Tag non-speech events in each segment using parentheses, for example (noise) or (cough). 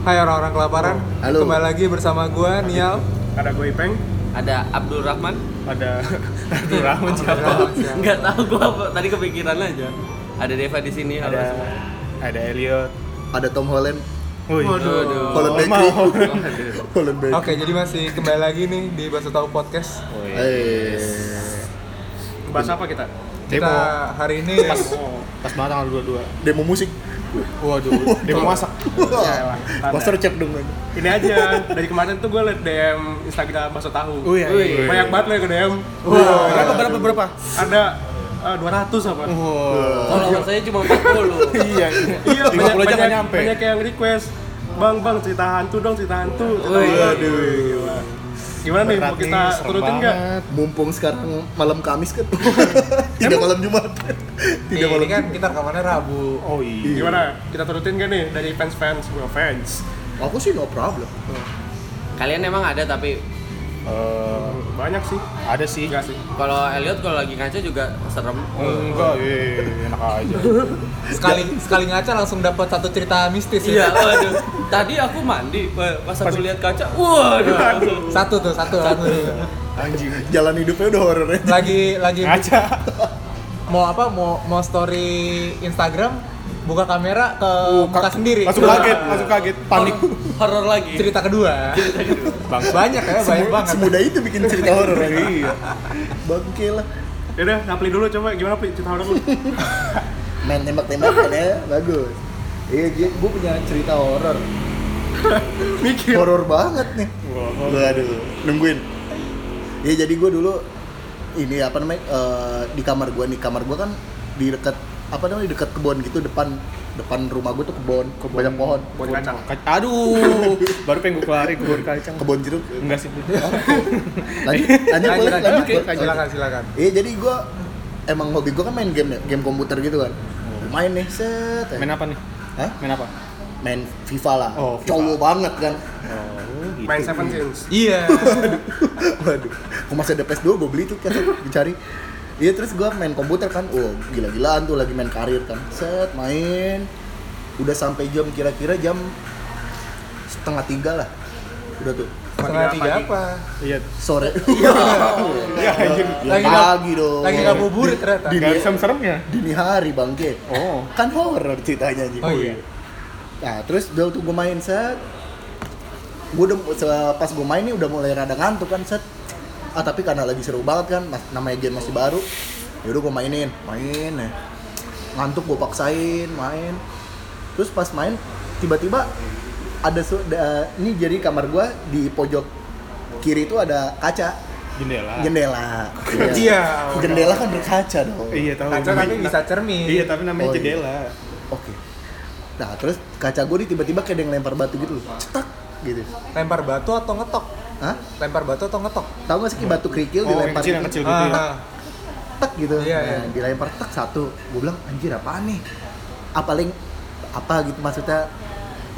Hai orang-orang kelaparan, Halo. kembali lagi bersama gue Nial ada gue Ipeng, ada Abdul Rahman (laughs) ada Abdul Rahman siapa, (laughs) Abdul Rahman, nggak tahu gua apa, tadi kepikiran aja ada Deva di sini halo ada semua. ada Elliot. ada Tom Holland Woi. Waduh. Oh, Holland Bakery Mau. (laughs) Holland Bakery Oke, jadi masih kembali lagi nih di Bahasa Tahu Podcast Eh, Bahas apa kita? Kita hari ini Oh, pas banget tanggal 22. demo musik (laughs) Waduh, demo masak. Wah, master chef dong kan Ini aja, dari kemarin tuh gue liat DM Instagram Bakso Tahu. Oh iya, iya, iya. Banyak banget lo yang ke DM. Berapa berapa berapa? Ada eh, 200 apa? Eh, follower saya cuma (laughs) 40 Oh, Iya. Iya, banyak, 50 aja nggak banyak, nyampe. banyak yang request. Bang, bang, cerita hantu dong, cerita hantu. Cerita Woi. hantu." Gila. Gimana nih, mau Berat kita nih, serem turutin nggak? banget. mumpung sekarang malam Kamis kan tidak malam Jumat tidak ini malam kan Jumat kita rekamannya Rabu Oh iya. Gimana? Kita turutin nggak nih dari fans-fans? Gue fans. aku sih no problem kalian emang ada tapi Eh, Banyak sih. ada sih. Enggak sih. kalau Elliot kalau lagi ngaca juga serem Enggak, iya, iya, iya, enak aja. Sekali sekali ngaca langsung dapat satu cerita mistis ya. iya waduh tadi aku mandi pa- pas aku lihat kaca waduh langsung. (laughs) Satu tuh, satu, satu. Anjing. jalan hidupnya udah horor ya Lagi lagi Ngaca. mau apa? Mau mau story Instagram buka kamera ke muka sendiri. Langsung kaget, langsung kaget. Panik. horor lagi Cerita kedua. Banyak ya, banyak Semu- banget. semudah itu bikin cerita horor ya iya bangke lah Yaudah, Napli dulu coba gimana Pli cerita horor lu? main tembak-tembakan ya bagus iya gue punya cerita (laughs) horor Mikir. horor banget nih aduh nungguin ya jadi gue dulu ini apa namanya eh, di kamar gue nih kamar gue kan di dekat apa namanya di dekat kebun gitu depan depan rumah gue tuh kebun, banyak pohon Buat kacang. Kac- Aduh, baru pengen gue kelarin gue baru kacang. kebun jeruk Enggak sih. lanjut lanjut Lanjut, boleh lanjut, lanjut oke, boleh, lanjut. silakan, silakan. Iya jadi gue emang hobi gue kan main game ya game komputer gitu kan main nih set eh. Main apa nih? Hah? Main apa? main FIFA lah Oh, FIFA. cowok banget kan Gitu. Main Seven Sins. Iya. Waduh, kok masih ada PS2 gue beli tuh kan dicari. Iya terus gue main komputer kan, oh gila-gilaan tuh lagi main karir kan, set main, udah sampai jam kira-kira jam setengah tiga lah, udah tuh Setengah tiga apa? Iya. sore. (laughs) Iya, Iya, anjing. Lagi pagi dong. Lagi ngabuburit ternyata. Oh. Di- Enggak serem-seremnya. Dini hari bangke. Oh. Kan horror ceritanya anjing. Oh iya. Nah terus udah tuh gue main set, gue udah se- pas gue main nih udah mulai rada ngantuk kan set. Ah tapi karena lagi seru banget kan, mas- namanya game masih baru. Yaudah gue mainin, main ya. Ngantuk gue paksain, main. Terus pas main tiba-tiba ada su- da- ini jadi kamar gue di pojok kiri itu ada kaca Jendela. jendela. Ah. (laughs) Iya. Jendela kan berkaca dong. Iya, tahu. Kaca tapi Namanya- bisa cermin. Iya, tapi namanya Oh, iya. jendela. Oke. Nah, terus kaca gue nih tiba-tiba kayak ada yang lempar batu gitu loh. Cetak gitu. Lempar batu atau ngetok? Hah? Lempar batu atau ngetok? Tahu gak sih kayak batu kerikil Oh, yang dilempar kecil, yang gitu, kecil gitu ya. Ah, tek gitu. Iya, Nah, iya. dilempar tek satu. Gue bilang anjir apaan nih? Apa link apa gitu maksudnya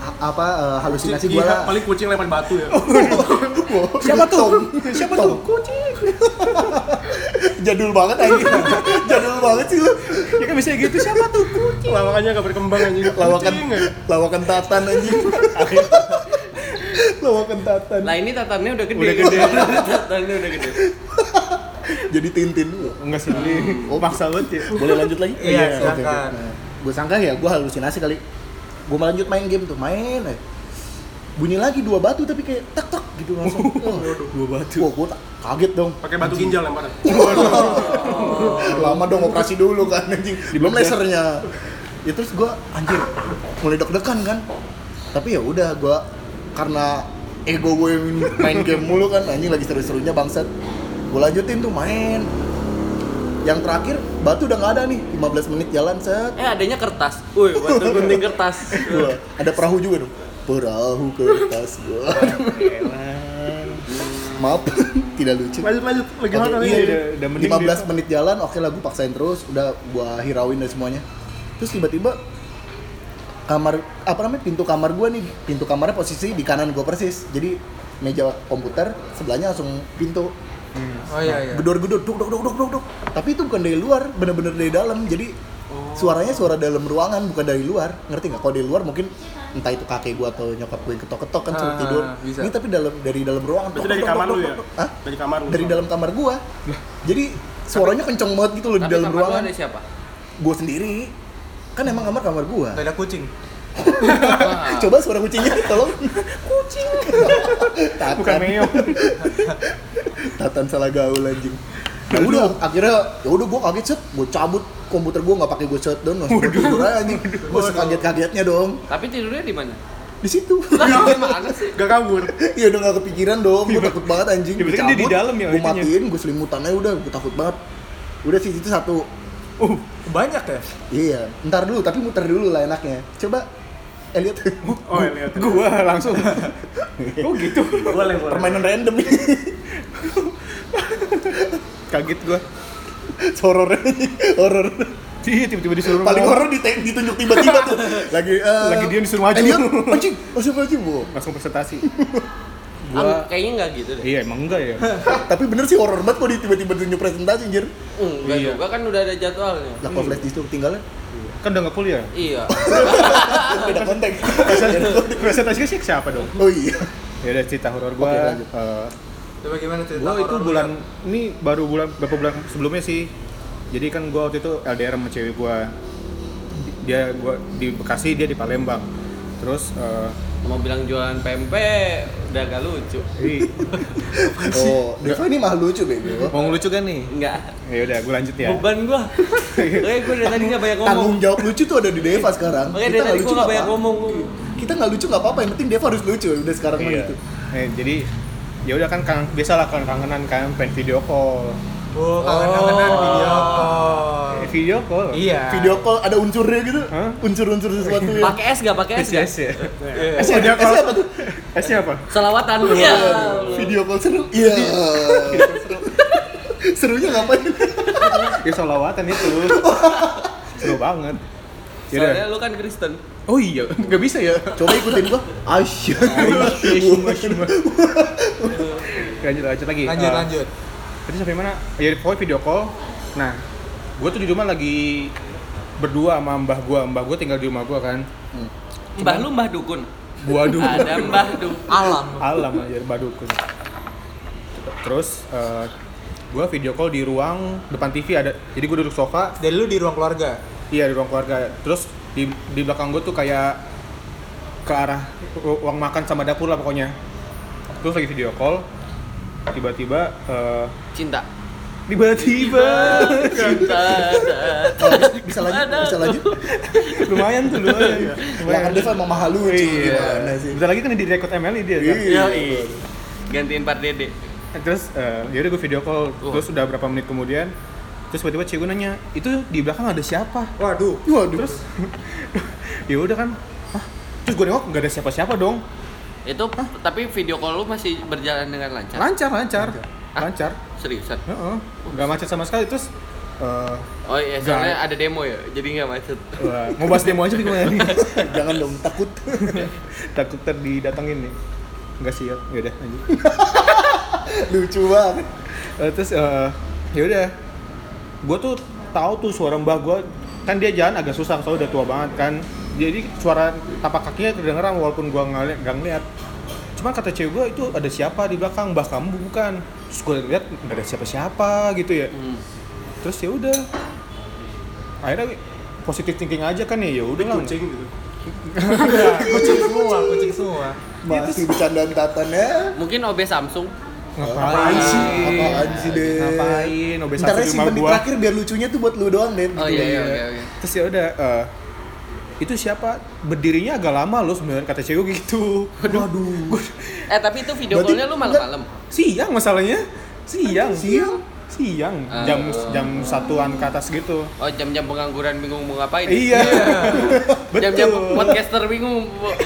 a- apa eh, halusinasi gue Iya, lah. (laughs) Paling kucing lempar batu ya. Siapa tuh? Siapa tuh? Kucing. (laughs) Jadul banget anjir. (laughs) Jadul banget sih lu. Ya kan bisa gitu siapa tuh? Lawakannya nggak berkembang anjing. Lawakan Kucing, ya. lawakan tatan (laughs) anjing. lawakan tatan. lah ini tatannya udah gede Udah gede. (laughs) tatannya udah gede Jadi tintin lu. Enggak sih. Oh. Maksa banget ya. boleh lanjut lagi? Iya, silakan. Gue sangka ya, gue halusinasi kali. Gue lanjut main game tuh, main. aja. Bunyi lagi dua batu tapi kayak tek tek gitu (laughs) langsung. Oh, dua batu. Wah, gue kaget dong. Pakai batu ginjal lempar. Lama dong operasi dulu kan anjing. Belum lasernya. Ya terus gue anjir mulai deg-degan kan. Tapi ya udah gue karena ego gue yang main game mulu kan anjing lagi seru-serunya bangsat. Gue lanjutin tuh main. Yang terakhir batu udah nggak ada nih. 15 menit jalan set. eh adanya kertas woi batu gunting kertas Gua, ada perahu juga dong perahu kertas gua maaf (laughs) tidak lucu Lanjut lanjut. Lagi Oke, mana iya, nih? udah- udah mending 15 menit jalan oke lah gua paksain terus udah gua hirauin dan semuanya terus tiba-tiba kamar apa namanya pintu kamar gua nih pintu kamarnya posisi di kanan gua persis jadi meja komputer sebelahnya langsung pintu Oh iya iya. gedor-gedor duk duk duk duk duk duk. tapi itu bukan dari luar bener-bener dari dalam jadi suaranya suara dalam ruangan bukan dari luar ngerti nggak kalau dari luar mungkin entah itu kakek gue atau nyokap gue ketok-ketok kan suruh Ah, tidur bisa. ini tapi dalam dari dalam ruangan Berarti tok, dari tok, kamar tok, lu tok, ya? tok. Hah? Dari kamar lu? dari dalam kamar gue jadi suaranya kenceng banget gitu loh di Tapi dalam kamar lu ruangan ada (laughs) siapa? gue sendiri kan emang kamar kamar gue Gak ada kucing. coba suara kucingnya tolong kucing Tatan. Bukan meyong. (laughs) Tatan salah gaul anjing. Ya udah, akhirnya ya udah gua kaget set, gua cabut komputer gua nggak pakai gua shutdown, langsung gua tidur aja anjing. Gua sekaget-kagetnya dong. Tapi tidurnya di (laughs) mana? Di (laughs) situ. Lah, Gimana sih? Gak kabur. ya udah nggak kepikiran dong, gua takut banget anjing. Ya, berarti kan dia di Cabut, dalam ya, Gua intinya. matiin, gua selimutan aja udah, gua takut banget. Udah sih itu satu. Uh, Banyak ya? Iya, ntar dulu tapi muter dulu lah enaknya. Coba eh, Elliot Oh, ya, lihat. gua langsung. Oh gitu. Boleh, boleh. permainan random nih. (laughs) Kaget gua. (laughs) Horor. Horor. Iya, tiba-tiba disuruh paling ngomong. horor dite- ditunjuk tiba-tiba tuh lagi eh, Lagi dia disuruh maju. Elliot, anjing langsung maju Bu. langsung presentasi. Am- Gua Kayaknya nggak gitu deh. Iya, emang enggak ya? tapi bener sih horor banget kok dia tiba-tiba tunjuk presentasi anjir Enggak Iya. juga kan udah ada jadwalnya. lah kok flash disk tuh ketinggalan Kan udah enggak (laughs) kuliah. Iya. beda (laughs) konteks Presentasi- Presentasinya sih siapa dong? oh iya Ya udah cerita Oke, horor gua. lanjut. eh, Coba gimana cerita Gue itu horor lu? bulan ini baru bulan beberapa bulan sebelumnya sih. Jadi kan gue waktu itu LDR sama cewek gue. Dia gua di Bekasi, dia di Palembang. Terus eh, Mau bilang jualan pempek udah gak lucu. ini oh Deva ini mah lucu bego mau lucu kan nih? Enggak. Ya udah, gue lanjut ya. Beban gua. Kayak gua dari tadi nggak banyak ngomong. tanggung jawab lucu tuh ada di Deva sekarang Makanya dari kita nggak tadi lucu gua nggak nggak banyak apa ngomong. kita nggak lucu nggak apa-apa yang penting Deva harus lucu udah sekarang mah Iya. gitu Eh, jadi ya udah kan kangen biasalah kan kangenan kan pengen video call. Oh, kangen-kangenan video call. Eh, video call. Iya. video call ada unsurnya gitu Hah? unsur-unsur sesuatu ya Pakai es gak? Pakai es Yes, gak? yes, ya. Iya. S-nya Video call. apa tuh? S-nya apa? Selawatan. Iya. video call seru iya serunya ngapain Ya solawatan itu. Seru banget. Ya udah. Soalnya lu kan Kristen. Oh iya, nggak bisa ya. coba ikutin gua Aisyah lanjut lanjut lagi. Lanjut, Eh, lanjut. Tadi sampai mana? Ya pokoknya video call. Nah, gue tuh di rumah lagi berdua sama mbah gue. Mbah gue tinggal di rumah gue kan. Mbah lu mbah dukun. Waduh. Ada mbah dukun. Alam. Alam aja mbah dukun. Terus gue video call di ruang depan TV ada. Jadi gue duduk sofa. Dari lu di ruang keluarga. Iya di ruang keluarga. Terus di di belakang gue tuh kayak ke arah ru- ruang makan sama dapur lah pokoknya. Terus lagi video call. Tiba-tiba. eh, Cinta. tiba-tiba. Cinta. bisa lanjut bisa lanjut lumayan tuh lumayan. ya kan Deva emang mahal lucu Iya. gimana sih Bentar lagi kan di record MLI dia. kan? Iya. Gantiin Pak Dede. Terus eh yaudah gue video call. Terus udah berapa menit kemudian terus tiba-tiba cewek gue nanya, "Itu di belakang ada siapa?" Waduh. Waduh. Terus ya udah kan. Hah? Terus gue nengok nggak ada siapa-siapa dong. Itu tapi video call lu masih berjalan dengan lancar. Lancar, lancar. Ah. Lancar. Seriusan. Heeh. Nggak macet sama sekali terus eh, Oh iya, soalnya ada demo ya, jadi nggak macet. wah, mau bahas demo aja (laughs) gimana nih? jangan dong takut Takut ter didatengin nih. Enggak sih, ya udah lanjut. lucu banget Eh, terus eh yaudah gue tuh tahu tuh suara mbah gue kan dia jalan agak susah soalnya udah tua banget kan jadi suara tapak kakinya kedengeran walaupun gue nggak nggak ngeliat cuma kata cewek gue itu ada siapa di belakang mbah kamu bukan terus gue lihat nggak ada siapa-siapa gitu ya Hmm. terus ya udah akhirnya positif thinking aja kan ya ya udah lah Kucing gitu. Kucing semua, kucing semua. masih bercandaan ya. tatannya Mungkin OB Samsung. ngapain sih apaan sih deh ngapain ntar obesasi di rumah simpen ya, di gue terakhir biar lucunya tuh buat lu doang deh Oh iya iya oke oke. terus ya udah eh, itu siapa berdirinya agak lama loh sebenarnya kata cewek gue gitu waduh Eh tapi itu video Berarti- callnya lu malam-malam. siang masalahnya siang Siang? siang Ah. jam jam satuan ke atas gitu Oh jam-jam pengangguran bingung mau ngapain? ya? iya (laughs) Jam-jam betul Iya podcaster (laughs) bingung. mau-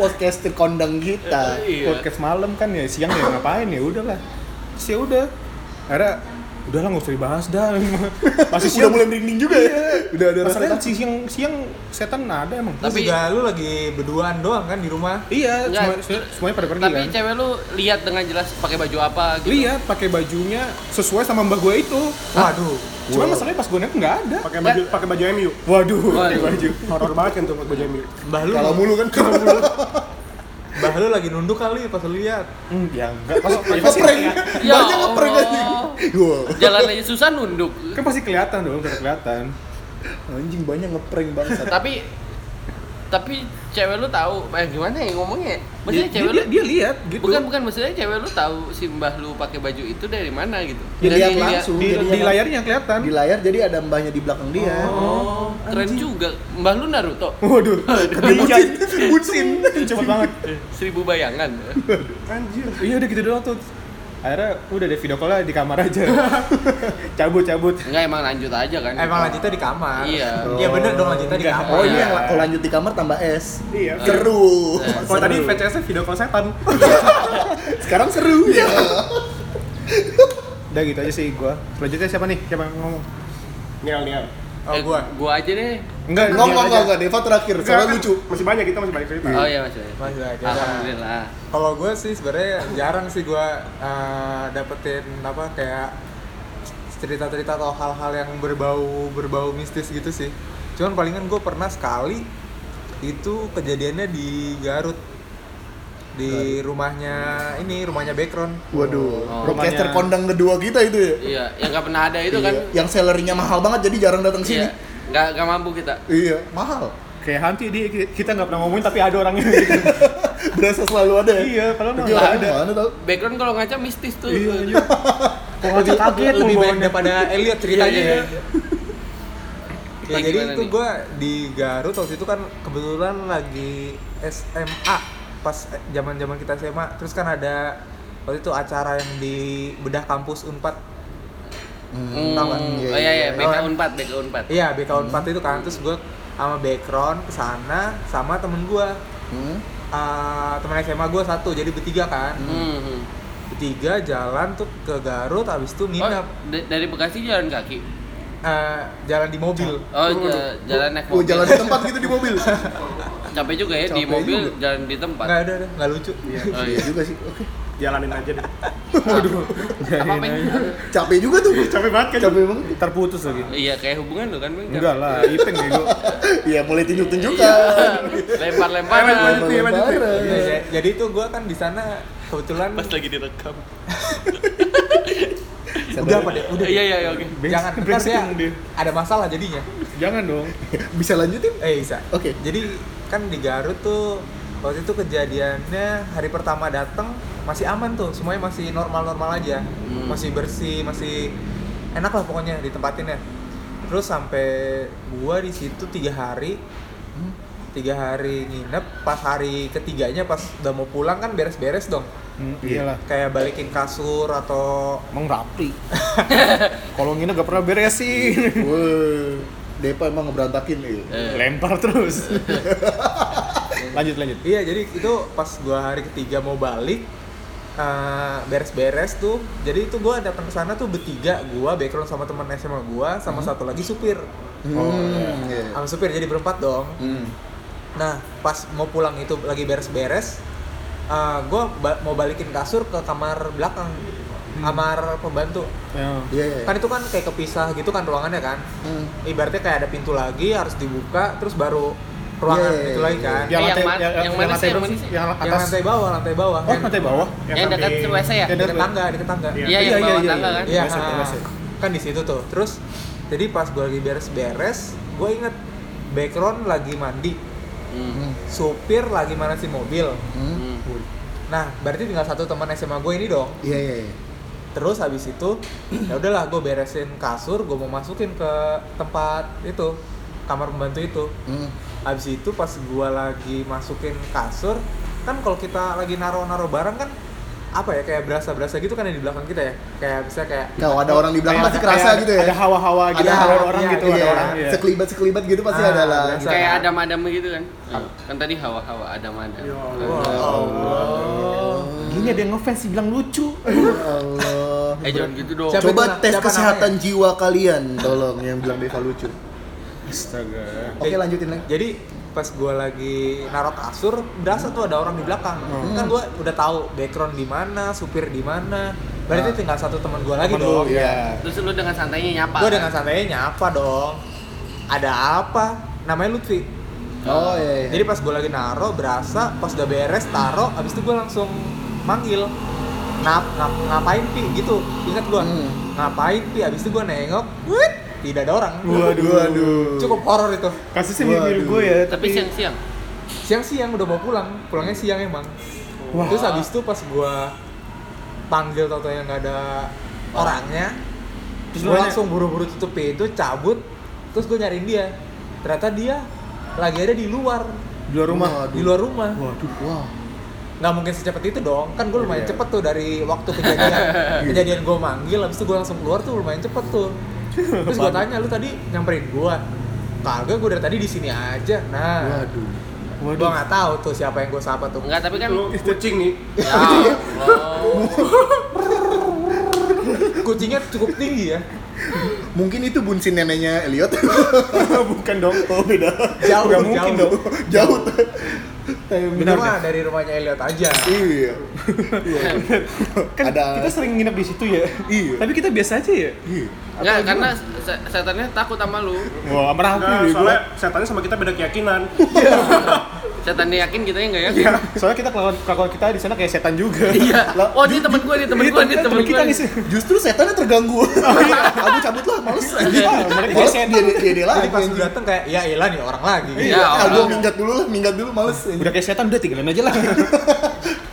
podcast kondang kita iya. podcast malam kan ya siang ya ngapain ya udahlah terus ya udah akhirnya udahlah nggak usah dibahas dah (laughs) masih masih udah siang mulai merinding juga ya Iya. udah ada rasa masalahnya siang siang setan ada emang Tapi Tapi- juga lu lagi berduaan doang kan di rumah. iya Enggak. semua- semua- semuanya pada pergi Tapi kan Iya, cewek lu lihat dengan jelas pakai baju apa gitu. lihat pakai bajunya sesuai sama mbak gue itu Waduh. Cuman masalahnya pas gue nengok nggak ada. pakai baju pakai baju MU Waduh, Waduh. baju. horor banget kan tuh pakai baju MU Mbah lu, Kalau mulu kan Iya, mbah lu lagi nunduk kali pas lu lihat. Hmm, ya enggak. Pas, ya, pasti, ngeprank. Ya Banyak ngeprank Allah. anjing. Gua. Jalan aja susah nunduk. kan pasti kelihatan dong, udah kelihatan. Anjing banyak ngeprank bangsat. (laughs) Tapi tapi cewek lu tahu eh, gimana ya ngomongnya? Maksudnya Dia- cewek dia, lu dia lihat gitu. bukan bukan maksudnya cewek lu tahu si Mbah lu pakai baju itu dari mana gitu. Dia Dari lihat dia- langsung. di, jadinya di kan. layarnya kelihatan. Di layar jadi ada mbahnya di belakang dia. Oh, keren juga. Mbah lu Naruto. (laughs) Waduh, bucin, bucin, cepet banget. Seribu bayangan. anjir Iya udah gitu doang tuh. Akhirnya udah deh video call di kamar aja. (laughs) cabut cabut. Enggak emang lanjut aja kan. Emang lanjutnya di kamar. Iya. Iya bener dong lanjutnya di Enggak. kamar. Oh iya, la- kalau lanjut di kamar tambah es. Iya. Seru. kalau tadi VCS -nya video call setan Sekarang seru ya. Udah gitu aja sih gua. Selanjutnya siapa nih? Siapa yang ngomong? nial nial Oh Eh, gua. Gua aja deh. Enggak, Enggak, dia enggak, aja. enggak, enggak, Deva terakhir, soalnya Kan lucu masih banyak kita masih banyak cerita Oh iya Mas. Mas, ya, kita- Alhamdulillah. Kalau gue sih sebenarnya jarang sih gue eh, dapetin apa kayak cerita-cerita atau hal-hal yang berbau berbau mistis gitu sih. Cuman palingan gue pernah sekali itu kejadiannya di Garut di rumahnya ini rumahnya background. Waduh, Oh, broadcaster rumahnya- kondang kedua kita itu ya Iya, yang gak pernah ada itu kan. Iya. Yang sellernya mahal banget jadi jarang datang sini Iya. Gak, gak mampu kita. Iya, mahal Kayak hanti dia kita nggak pernah ngomongin tapi ada orangnya gitu. Berasa selalu ada ya? Iya, padahal Tapi nggak orangnya ada. Mana tau? Background kalau ngaca mistis tuh. Iya, iya. (laughs) Kok aja kaget lebih lu baik bawaannya. daripada Elliot ceritanya. Iya, iya. Nah, Kayak jadi gimana itu nih? gue di Garut waktu itu kan kebetulan lagi SMA pas zaman zaman kita SMA terus kan ada waktu itu acara yang di bedah kampus unpad Hmm, Tau nggak? oh iya iya, BK Tau kan? Unpad, BK Unpad. iya BK unpad itu kan terus gue sama background kesana sama temen gue Hmm. Ah, temen SMA gue satu jadi bertiga kan Hmm, hmm. bertiga jalan tuh ke Garut habis itu Oh, nginep da- dari Bekasi jalan kaki. Ah, jalan di mobil Oh, ja- jalan naik Oh, mobil. Oh, jalan di tempat gitu di (laughs) mobil Capek juga ya di Capek mobil juga. jalan di tempat. nggak ada ada, nggak lucu Oh Iya (laughs) iya. juga sih, oke jalanin aja deh (laughs) Apa Bang? Capek juga tuh capek banget kan Capek banget Terputus lagi. Iya, kayak hubungan lu kan, Bang. Enggak lah, ipeng bego. Iya, mulai Iya. tunjuk-tunjukkan Lempar-lemparan. Lanjut nih, lanjut nih. Lebaran. Iya, ja- jadi itu gue kan di sana kebetulan Pas lagi direkam. udah apa deh udah Iya iya iya, oke. Bes- jangan ntar brengsek dia emang dia. ada masalah jadinya Jangan dong. Bisa lanjutin? eh bisa (laughs) Oke. jadi kan di Garut tuh waktu itu kejadiannya hari pertama datang masih aman tuh semuanya masih normal normal aja Hmm. masih bersih masih enak lah pokoknya ditempatinnya terus sampai gua di situ tiga hari Hmm. tiga hari nginep pas hari ketiganya pas udah mau pulang kan beres-beres dong Hmm, iyalah. kayak balikin kasur atau Emang rapi. (laughs) Kalau nginep gak pernah beresin. Wah, Depa emang ngeberantakin ya Lempar terus. lanjut lanjut. Iya jadi itu pas gua hari ketiga mau balik eh, beres-beres tuh jadi itu gua datang ke sana tuh bertiga gua background sama teman SMA gua sama satu lagi supir Hmm, iya sama supir jadi berempat dong Hmm. nah pas mau pulang itu lagi beres-beres eh, gua ba- mau balikin kasur ke kamar belakang kamar pembantu Ya. Iya, iya kan itu kan kayak kepisah gitu kan ruangannya kan Hmm. ibaratnya kayak ada pintu lagi harus dibuka terus baru ruangan Iya, itu iya, lagi iya. kan Yang ma- yang mana lantai sih, yang berapa mana sih? sih? Yang yang atas. lantai bawah lantai bawah Oh, Yang- lantai bawah. Yang dekat samping- WC ya? Yang di tetangga di tetangga Iya. Iya, yang bawah tangga kan. iya Biasa, ha. biasa. kan di situ tuh terus jadi pas gue lagi beres-beres gue inget background lagi mandi Hmm. supir lagi manasin mobil Hmm. hmm. nah berarti tinggal satu teman SMA gue ini dong Iya, iya, iya terus habis itu (clears throat) ya udahlah gue beresin kasur gue mau masukin ke tempat itu kamar pembantu itu Hmm. habis itu pas gue lagi masukin kasur kan kalau kita lagi naro-naro barang kan apa ya kayak berasa-berasa gitu kan yang di belakang kita ya kayak bisa kayak Kalau ada orang di belakang pasti kerasa Kayak gitu ya. Ada hawa-hawa gitu, Ada ada hawa, orang iya, gitu, iya. ada orang. iya. Sekelibat-sekelibat gitu pasti Ah, ada lah. biasa. Kayak adam-adam gitu kan. Kan tadi hawa-hawa adam-adam. Kan. Ya Wah, Allah. Gini ada yang ngefans sih bilang lucu. Ya Allah. Eh jangan gitu dong. Siapa Coba itu? tes Siapa kesehatan jiwa kalian, tolong yang bilang Deva lucu. Astaga. Oke, lanjutin lagi. Jadi pas gue lagi naruh Hmm. kasur, berasa tuh ada orang di belakang. Kan gue udah tahu background di mana, supir di mana. Berarti tinggal satu teman gua lagi Nah. Temen lu, dong. iya. Terus lu dengan santainya nyapa. kan? Gua dengan santainya nyapa dong. Ada apa? Namanya Lutfi. Oh iya. iya. Jadi pas gua lagi naro berasa, pas udah beres taro, abis itu gua langsung manggil. Ngap, ngap, ngapain pi gitu ingat gua Hmm. ngapain pi abis itu gua nengok wih tidak ada orang Waduh, waduh. cukup horor itu Kasusnya Waduh. mirip gue ya, (laughs) Tapi siang-siang. siang-siang udah mau pulang pulangnya siang emang Hmm. Wah. terus habis itu pas gua panggil tau yang nggak ada orangnya Terus terus lu gua nanya? langsung buru-buru tutup pintu cabut terus gua nyariin dia ternyata dia lagi ada di luar di luar rumah. di luar rumah Waduh. Wow. nggak mungkin secepat itu dong kan gua lumayan Iya. cepet tuh dari waktu (laughs) kejadian kejadian gua manggil habis itu gua langsung keluar tuh lumayan cepet tuh terus (laughs) gua tanya lu tadi nyamperin gua kagak gua dari tadi di sini aja nah Ah. Waduh. gua nggak tahu tuh siapa yang gua sapa tuh Enggak, tapi kan Itu kucing nih. ya. Oh. kucingnya cukup tinggi ya Mungkin itu bunsin neneknya Elliot. Bukan dong, (laughs) oh beda. Jauh, Nggak mungkin jauh. dong. Jauh. benar mah dari rumahnya Elliot aja iya. Kan Ada- kita sering nginep di situ ya. Iya. Tapi kita biasa aja ya. Iya. Enggak, karena se- setannya takut sama lu. Wah, merapi Nah, ya gue. soalnya setannya sama kita beda keyakinan. Setannya yakin kita enggak yakin. Soalnya kita kelakuan kelakuan kita di sana kayak setan juga. Iya. Lah, Oh, ini temen gua, ini temen gua, ini temen kita gua. nih. Justru setannya terganggu. Oh, Aku cabut lah, males. Ah, iya. mereka kayak Males setan. dia dia dia jadi lagi. pas lu dateng kayak ya elah nih orang lagi Iya, Ah, orang. gua minggat dulu lah, minggat dulu males. Udah kayak setan udah tinggalin aja lah.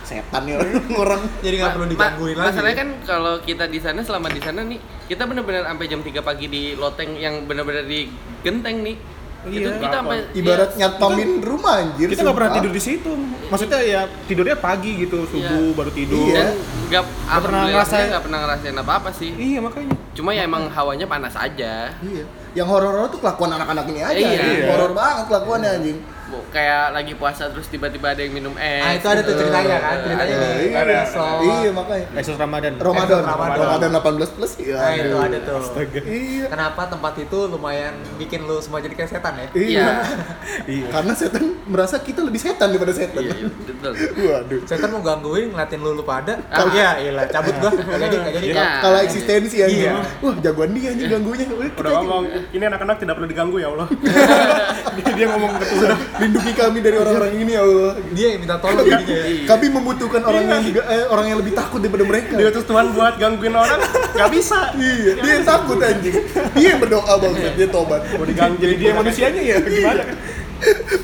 Setan ya (laughs) orang. jadi nggak perlu Ma- digangguin ma- lagi Masalahnya kan kalau kita di sana selama di sana nih, kita benar-benar sampai jam 3 pagi di loteng yang benar-benar di genteng nih. Itu kita sampai Ibarat nyatomin rumah anjir. Iya. Kita nggak pernah sumpah. tidur di situ. Maksudnya ya tidurnya pagi gitu, subuh baru tidur. iya. Iya. dan nggak pernah ngerasain ngerasain- nggak pernah ngerasain apa-apa sih. Iya, makanya. Cuma ya emang hawanya panas aja. Iya. Yang horor-horor tuh kelakuan anak-anak ini aja. Iya. anjing. Horor banget kelakuannya anjing. Bu, Kayak lagi puasa terus tiba-tiba ada yang minum es. Eh, ah itu ada tuh ceritanya kan ceritanya Iya, di iya. episode Iya, makanya. Esos Eh, Ramadan. Ramadan, Ramadan. Ramadan 18 plus. Iya. nah itu ada tuh Iya. kenapa tempat itu lumayan bikin lu semua jadi kayak setan ya Iya. Iya. Karena setan merasa kita lebih setan daripada setan. Iya, iya, betul. (laughs) Waduh. setan mau gangguin ngeliatin lu lu pada Ah. ya elah cabut gua nggak jadi nggak jadi Iya. Kalau eksistensi anjing. Iya. Wah, jagoan dia anjing ganggunya. Wah, kita Udah aja. ngomong, ini anak-anak tidak perlu diganggu ya Allah. (laughs) Dia, dia ngomong gitu. ke Tuhan. Sudah, lindungi kami dari orang-orang ini ya Allah. dia yang minta tolong jadinya ya. Kami membutuhkan orang yang juga- eh, orang yang lebih takut daripada mereka. Dia utus Tuhan buat gangguin orang, nggak bisa. Iya, dia yang takut anjing. Dia yang berdoa banget, dia tobat. Mau diganggu Jadi dia manusianya ya gimana kan?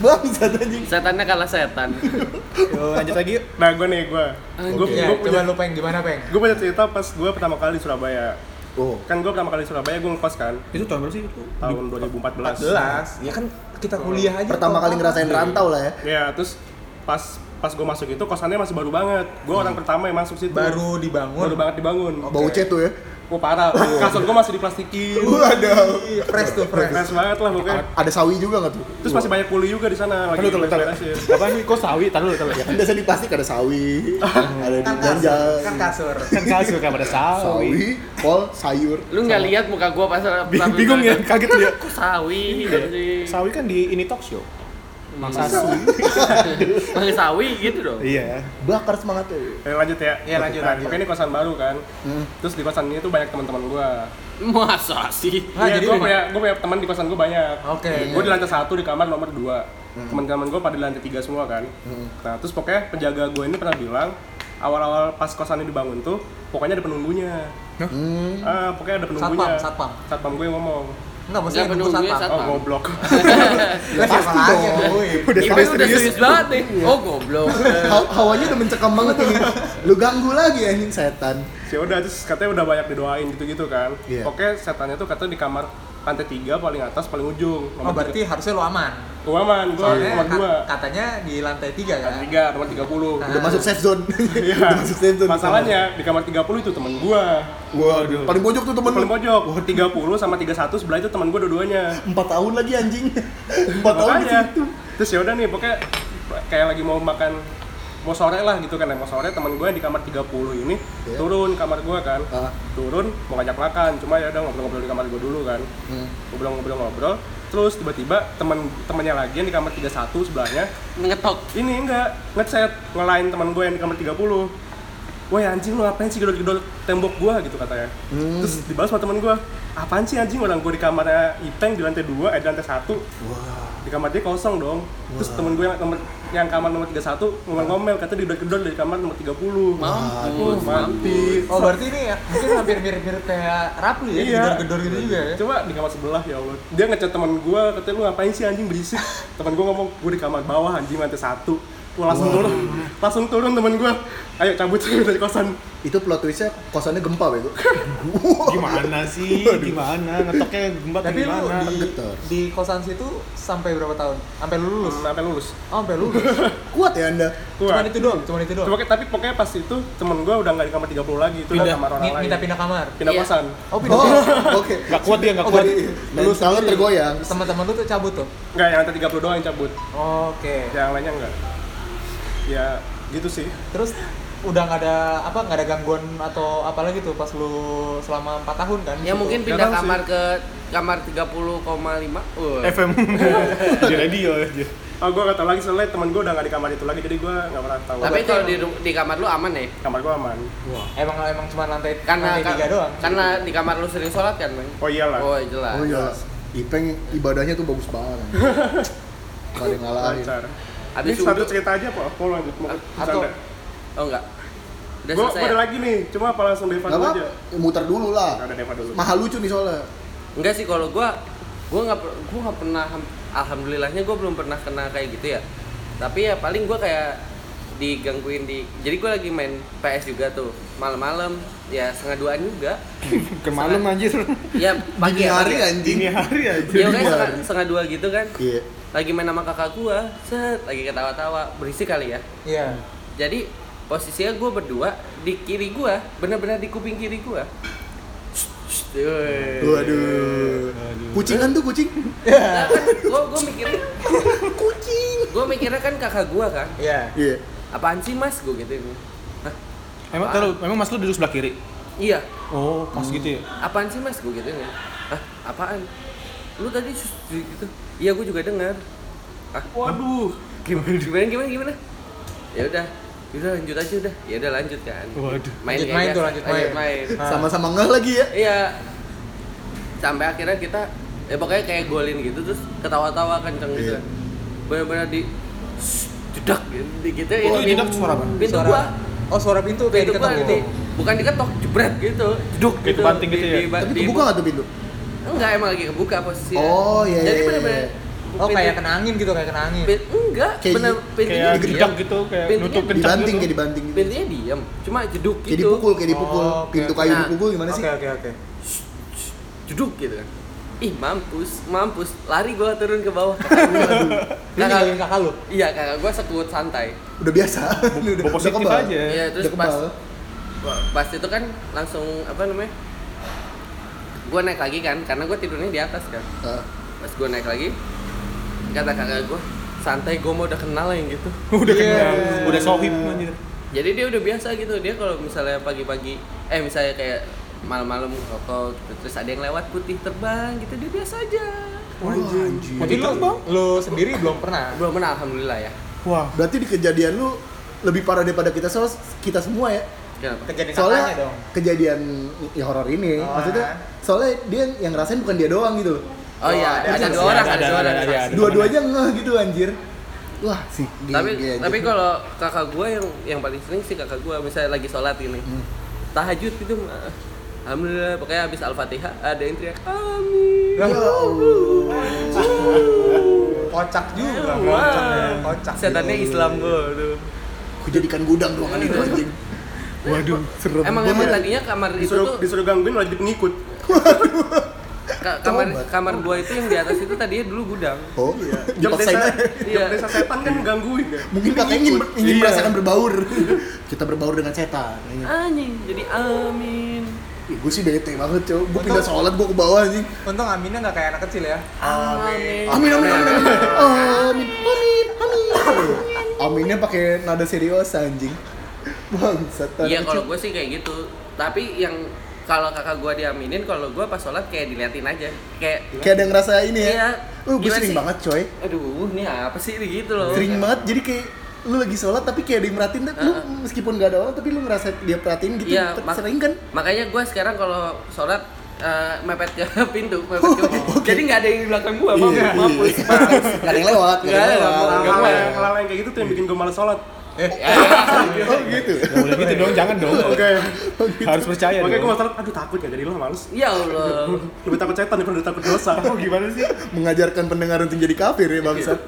Bangsat anjing. Setannya kalah setan. Yo, lanjut lagi yuk. Nah gue nih gue, Ah, gue ya coba gue punya lu peng gimana peng gue punya cerita pas gue pertama kali di Surabaya. Oh, Kan gue pertama kali di Surabaya gue ngekos kan Itu tahun berapa sih itu? tahun 14 2014. ya kan kita kuliah aja pertama kok. kali ngerasain Iya. rantau lah ya. Ya terus pas pas gue masuk itu kosannya masih baru banget. Gue Hmm. orang pertama yang masuk situ. baru dibangun baru banget dibangun. Bau cet tuh ya. Gue parah. Oh. Kasur gue masih diplastikin. Waduh. Iya, fresh tuh fresh Fresh banget lah pokoknya. Ada sawi juga nggak tuh? Iya. Terus masih banyak kuli juga di sana lagi. ya. Tahu tahu tahu. beres-beresin. Apa sih kok sawi? Tahu tahu. Ya kan biasa di plastik ada sawi, ada di kan ganja, kasur kan kasur Kan kasur kan pada sawi. sawi, kol, sayur. Lu nggak lihat muka gua pas pas- Bingung ya, kaget dia. Kok sawi gitu sih. Sawi kan di ini talk show. Mangsa Pakai sawi gitu dong. Iya. Bakar semangat tuh. Eh, lanjut ya. Iya, lanjut, lanjut. Nah, Hmm. pokoknya ini kosan baru kan. Terus di kosan ini tuh banyak teman-teman gua. Masa sih? Ah, Iya, jadi gua udah- punya gua punya teman di kosan gua banyak. Oke. iya. Hmm. Gua di lantai satu di kamar nomor dua. Teman-teman gua pada di lantai tiga semua kan. Nah, terus pokoknya penjaga gua ini pernah bilang awal-awal pas kosan ini dibangun tuh pokoknya ada penunggunya. Ah, pokoknya ada penunggunya. satpam. Satpam gue ngomong. Enggak, maksudnya Nggak, nunggu penunggunya Oh, satpam. Satpam. goblok. (laughs) Lah siapa pasti lagi dong. yang nungguin? Udah Ini serius udah serius. serius banget nih. Oh goblok. Ha- hawanya udah mencekam banget ini. Lu ganggu lagi anjing setan. Ya udah terus katanya udah banyak didoain gitu-gitu kan. Iya. Pokoknya setannya tuh katanya di kamar lantai tiga paling atas paling ujung. Oh, berarti harusnya lu aman. Gua aman, gua Soalnya kan nomor ka- dua katanya di lantai tiga kan. Lantai tiga, nomor 30 Udah masuk safe zone. Iya, (laughs) Udah masuk safe zone. masalahnya di kamar 30 itu temen gua Waduh. Paling pojok tuh temen lu. Paling pojok, 30 sama 31 sebelah itu temen gua dua-duanya 4 tahun lagi anjing. (laughs) 4 tahun di Makanya, situ. terus yaudah nih pokoknya kayak lagi mau makan mau sore lah gitu kan, mau sore temen gua yang di kamar 30 ini Iya. turun ke kamar gua kan Ah. turun mau ngajak makan cuma ya udah ngobrol-ngobrol di kamar gua dulu kan Hmm. ngobrol-ngobrol-ngobrol terus tiba-tiba temen temennya lagi yang di kamar 31 sebelahnya Ngetok. ini enggak ngechat ngelain teman gue yang di kamar 30 woi anjing lu ngapain sih gedor-gedor tembok gua gitu katanya terus dibalas sama temen gua apaan sih anjing orang gua di kamarnya Ipeng di lantai 2 eh di lantai 1 di kamar dia kosong dong terus temen gua yang nomor yang kamar nomor 31 ngomel-ngomel katanya digedor-gedor dari kamar nomor 30 Mampus, mati Oh berarti ini ya, mungkin hampir mirip-mirip kayak Rapli ya, Iya. gedor-gedor gitu juga ya. Coba di kamar sebelah ya Allah. Dia ngechat teman gua, katanya lu ngapain sih anjing berisik. Teman gua ngomong, "Gua di kamar bawah anjing lantai satu." Gua langsung turun. Langsung turun teman gua. Ayo cabut (laughs) dari kosan. Itu plot twistnya kosannya gempa bego. (laughs) Gimana sih? Gimana? Ngetoknya gembat Tapi lu gimana? di, Getar. di kosan situ sampai berapa tahun? Sampai lu lulus? Terus sampai lulus. Oh, sampai lulus. Kuat ya anda. Gua. cuman itu doang, cuman itu doang. Cuma tapi pokoknya pas itu teman gua udah nggak di kamar 30 lagi, itu udah Pindah, kamar orang mi- lain. minta pindah kamar. Pindah Iya. kosan. Oh, pindah. Oh kamar. oke. iya. Gak kuat dia, gak Oh, kuat. jadi Lalu selalu tergoyang. teman-teman lu tuh cabut tuh. Enggak, yang lantai 30 doang yang cabut. Oke. Yang lainnya enggak. Ya gitu sih. Terus udah nggak ada apa nggak ada gangguan atau apa lagi tuh pas lu selama 4 tahun kan? di Ya situ? mungkin Nggak pindah tahu sih. kamar ke kamar 30,5. Wah. FM. Di radio aja. Oh, gua gak tau lagi soalnya teman gua udah nggak di kamar itu lagi, jadi gua nggak pernah tahu. Tapi kalau di ru- di kamar lu aman ya? kamar gua aman. Emang emang cuma lantai Karena lantai Nah, tiga doang. karena di kamar lu sering sholat kan, Bang? Oh iyalah. Oh, jelas. Oh iya. Ipeng ibadahnya tuh bagus banget. Gak ada yang ngalahin. lancar. Ada Ini sudut. satu cerita aja Pak, mau lanjut mau atau- bercanda. Oh enggak. Udah Gue selesai. ada ya? lagi nih, cuma apa langsung Deva Gak dulu apa-apa. aja. Muter dulu lah. Ada Deva dulu. Mahal lucu nih soalnya. Enggak sih kalau gua gua nggak per- gua nggak pernah ham- alhamdulillahnya gua belum pernah kena kayak gitu ya. Tapi ya paling gua kayak digangguin di jadi gua lagi main PS juga tuh malam-malam ya setengah duaan (laughs) juga Kemalem anjir. ya pagi Dini ya, hari pagi ya. anjing. Dini hari aja. ya kan Dini setengah, hari. setengah dua gitu kan Iya. lagi main sama kakak gua set lagi ketawa-tawa berisik kali ya Iya. jadi posisinya gue berdua di kiri gue benar-benar di kuping kiri gue Waduh. Kucingan tuh kucing. Nah, kan gue gue (laughs) mikirnya Kucing. gue mikirnya kan kakak gue kan Iya. Iya. apaan sih mas gue gitu Hah? Emang taruh, emang mas lu duduk sebelah kiri? iya Oh, pas gitu ya? apaan sih mas gue gitu Hah? apaan lu tadi sus- gitu iya gue juga dengar ah Waduh, gimana gimana gimana gimana ya udah udah lanjut aja udah ya udah lanjut kan Waduh. main Lanjut kayak main tuh, biasa. lanjut main. Ah. Sama-sama ngeh lagi ya. Iya. Sampai akhirnya kita ya pokoknya kayak golin gitu terus ketawa-tawa kenceng gitu. Iya. Benar-benar di jedak gitu. gitu. Itu Ini jedak suara apa? Pintu Suara- gua Oh, suara pintu pintu kayak gua diketok gitu. di, bukan diketok jebret gitu. Jeduk Kayak kebanting gitu ya? Tapi kebuka nggak tuh pintu? Enggak emang lagi kebuka posisinya. Oh, iya, Jadi iya, iya. benar-benar Oh, pintu- kayak kena angin gitu, kayak kena angin. pin- enggak, Kayak benar di- pintunya Kayak diam. jedak gitu, kayak Pintunya- nutup kencang Dibanting kayak gitu. dibanting. gitu. Pintunya diam, cuma jeduk gitu. Kayak dipukul, kayak dipukul. Oh, oke, Pintu oke. kayu Nah. dipukul gimana sih? Oke, oke, oke. jeduk gitu kan. Ih, mampus, mampus. Lari gua turun ke bawah. Ini Kakak- ninggalin kakak lu. Iya kakak gue sekut santai. Udah biasa. Udah Bawa positif kebal. aja. Iya terus Eh, Udah pas kebal. pas itu kan langsung apa namanya? Gue naik lagi kan karena gue tidurnya di atas kan. Ah. Pas gue naik lagi kata kakak gue santai gue mau udah kenal yang gitu. Udah Iya. kenyang, udah sohib anjir. Jadi dia udah biasa gitu dia kalau misalnya pagi-pagi eh misalnya kayak malam-malam rokok gitu, terus ada yang lewat putih terbang gitu dia biasa aja. Wah, anjir. Tapi lu, lu sendiri belum pernah. Nah, Belum pernah alhamdulillah ya. Wah, Berarti di kejadian lu lebih parah daripada kita soal kita semua ya. Kenapa? Kejadian kakaknya Soalnya dong. kejadian ya horor ini Oh, maksudnya ah. soalnya dia yang ngerasain bukan dia doang gitu. Oh iya, ada- ada ada- dua orang, ada- ada dua ada- orang. ada- ada- Dua-duanya ngeh gitu anjir. Wah, sih. tapi tapi kalau kakak gua yang yang paling sering sih kakak gua misalnya lagi sholat ini Hmm. tahajud gitu eh, alhamdulillah pokoknya habis al-fatihah ada yang teriak amin Ya Allah. Kocak juga, Wah. kocak ya, kocak. setannya Islam gua tuh Ku jadikan gudang ruangan itu anjing. waduh. Serem Iya. emang banget. emang tadinya kamar itu disuruh tuh disuruh gangguin malah jadi pengikut. ka- kamar kamar gua itu yang di atas itu tadinya dulu gudang Oh iya. Jam Dipaksain desa, aja. Iya. jam desa setan kan gangguin kan. Mungkin kakak ingin ingin Iya. merasakan berbaur. Kita berbaur dengan setan. anjing jadi amin Gue sih bete banget, cow. Gue pindah sholat, gue ke bawah anjing. Untung aminnya nggak kayak anak kecil ya. amin Amin, amin, amin, amin, amin, amin, amin. Aminnya pakai nada serius anjing. Bang, setan. (laughs) iya kalau gua sih kayak gitu tapi yang kalau kakak gua diaminin kalau gua pas sholat kayak diliatin aja kayak Kayak ada yang ngerasa ini ya. Iya. Uh, gue Gimana sering sih? banget, coy. aduh ini apa sih ini gitu loh Sering banget, jadi kayak lu lagi sholat tapi kayak ada yang merhatiin tapi lu meskipun gak ada orang tapi lu ngerasa dia perhatiin gitu Iya, ter- mak- sering kan makanya gue sekarang kalau sholat eh, mepet ke (laughs) pintu, mepet ke jadi nggak ada yang di belakang gue, mampus, Oh, Iya, mampus. gak ada yang lewat gak ada yang lewat Nggak ada, nggak Hal-hal boleh. yang- hal-hal yang kayak gitu tuh yang bikin gue malas sholat oh gitu Nggak boleh gitu dong, jangan dong. (laughs) Harus percaya Makanya gue dong. malas sholat, aduh takut gak jadi lo males Ya Allah, Lebih takut setan daripada takut dosa (laughs) Oh, gimana sih? mengajarkan pendengar untuk jadi kafir ya bangsat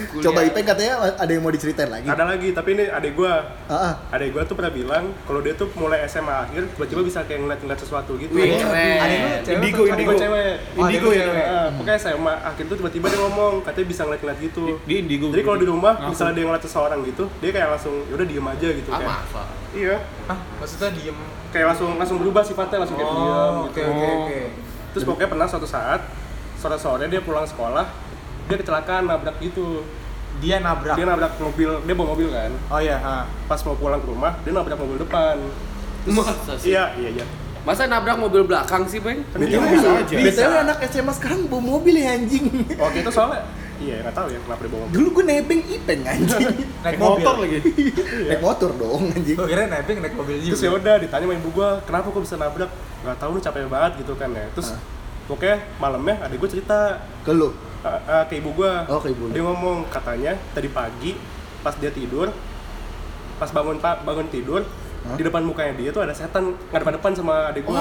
(laughs) coba Ipeng katanya ya, ada yang mau diceritain lagi Ada lagi, tapi ini adik gue ah, ah. Adek gua tuh pernah bilang kalau dia tuh mulai SMA akhir tiba-tiba bisa kayak ngeliat-ngeliat sesuatu gitu. wih Iya. Ada lu keren. cewek Indigo, apa Adik indigo. gua cewek. Oh, adik Indigo lu ya. cewek. Eh, pokoknya SMA akhir tuh tiba-tiba dia ngomong katanya bisa ngeliat-ngeliat gitu. Dia indigo. Jadi kalau di rumah Ngaku. misalnya dia ngeliat seseorang gitu, dia kayak langsung ya udah diem aja gitu Ah, kayak. maaf. Iya. Hah, maksudnya diem. Kayak langsung langsung berubah sifatnya langsung kayak diam Oh, oke gitu. oke oke. Terus pokoknya pernah suatu saat sore-sore dia pulang sekolah dia kecelakaan nabrak gitu. Dia nabrak. Dia nabrak mobil, dia bawa mobil kan. Oh iya, ha. Pas mau pulang ke rumah dia nabrak mobil depan. Masa sih? Iya, iya, Kan iya. Masa nabrak mobil belakang sih, Bang? Iya, BTW, bisa aja. BTW anak SMA sekarang bawa mobil ya anjing (laughs) Waktu itu Oh, soalnya iya nggak tahu ya kenapa dia bawa mobil. Dulu gue nebeng Ipeng anjing Naik Naik mobil. motor lagi. Naik motor dong anjing Gue kira naik naik mobil Terus juga. ya udah ditanya sama ibu gua, kenapa kok bisa nabrak? Nggak tahu nih capek banget gitu kan ya. Terus Ah. pokoknya malamnya adik gua cerita Ke lu? eh, eh, ke ibu gua. Oh, ke ibu lu. Dia ngomong katanya tadi pagi pas dia tidur pas bangun pa- bangun tidur di depan mukanya dia tuh ada setan ngadep depan sama adik gua.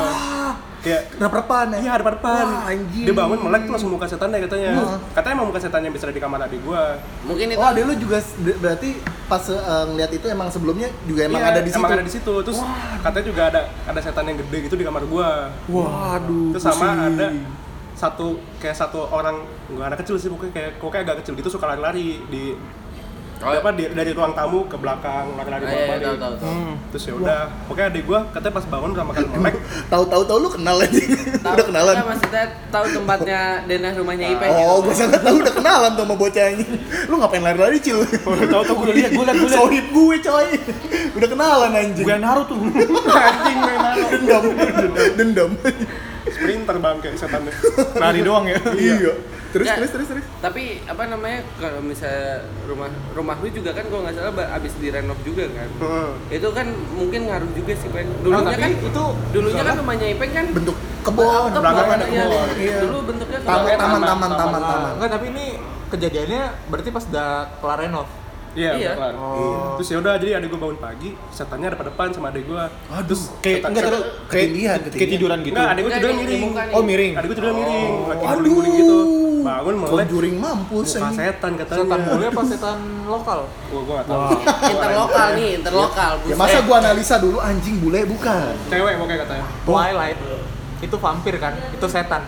Kayak Rep-repan ya? Iya, ada depan. Wah, anjing. Dia bangun melek tuh langsung muka setan deh katanya. Katanya emang muka setannya bisa ada di kamar adik gua. Mungkin itu Oh, ada lu juga s- de- berarti pas eh, ngeliat itu emang sebelumnya juga emang ada Iya, di situ. Emang ada di situ. Terus katanya juga ada ada setan yang gede gitu di kamar gua. Waduh. Terus sama pusing. ada satu kayak satu orang nggak anak kecil sih pokoknya kayak pokoknya agak kecil gitu suka lari-lari di Oh. iya, apa di- dari ruang tamu ke belakang lari-lari Ah, iya, iya, tahu, balik. tahu, Hmm. tahu. Terus ya udah, pokoknya adik gua katanya pas bangun udah makan melek. Tahu-tahu tahu lu kenal aja. (laughs) Tahu- udah kenalan. Nggak, maksudnya tahu tempatnya denah rumahnya Gitu. Ipeng. oh, gue sangat tahu udah kenalan tuh sama bocah ini. Lu ngapain lari-lari cil? Iya, Tahu-tahu gue lihat, gue lihat, gue lihat. Sohib gue coy. Udah kenalan anjing. Gue naruh tuh. Anjing mainan. Dendam. Dendam. Sprinter bang kayak setannya. Nari doang ya. iya. Terus Ya. terus terus terus. Tapi apa namanya kalau misalnya rumah rumah lu juga kan kalau nggak salah ba- abis direnov juga kan. Hmm. Heeh. Itu kan mungkin ngaruh juga sih Bang. Nah, Oh, Dulunya tapi kan itu dulunya kan rumahnya Ipeng kan Bentuk kebon, Apa, belakang bangunan, ada iya, kebon. Iya. Dulu bentuknya Taman, kayak taman, taman, Taman, taman, taman. taman. Enggak, tapi ini kejadiannya berarti pas udah kelar renov. Iya, Iya. udah kelar. Oh. Terus ya udah jadi adik gua bangun pagi, setannya ada pada depan sama adik gua. Aduh. Kayak enggak terus kayak Ketindihan, kayak ketindihan. tiduran gitu. Enggak, adik gua Enggak, tidur ini miring. bukan, ini. Oh, miring. Adik gua tidur miring, lagi Waduh. guling-guling gitu. Bangun melek. Conjuring mampus Muka anjing. setan katanya. Setan Iya. bule apa setan lokal? Gua gua nggak tahu. interlokal nih, interlokal. Ya buset. masa gua analisa dulu anjing bule bukan. Cewek pokoknya katanya. Oh. Twilight. Itu vampir kan? Itu setan.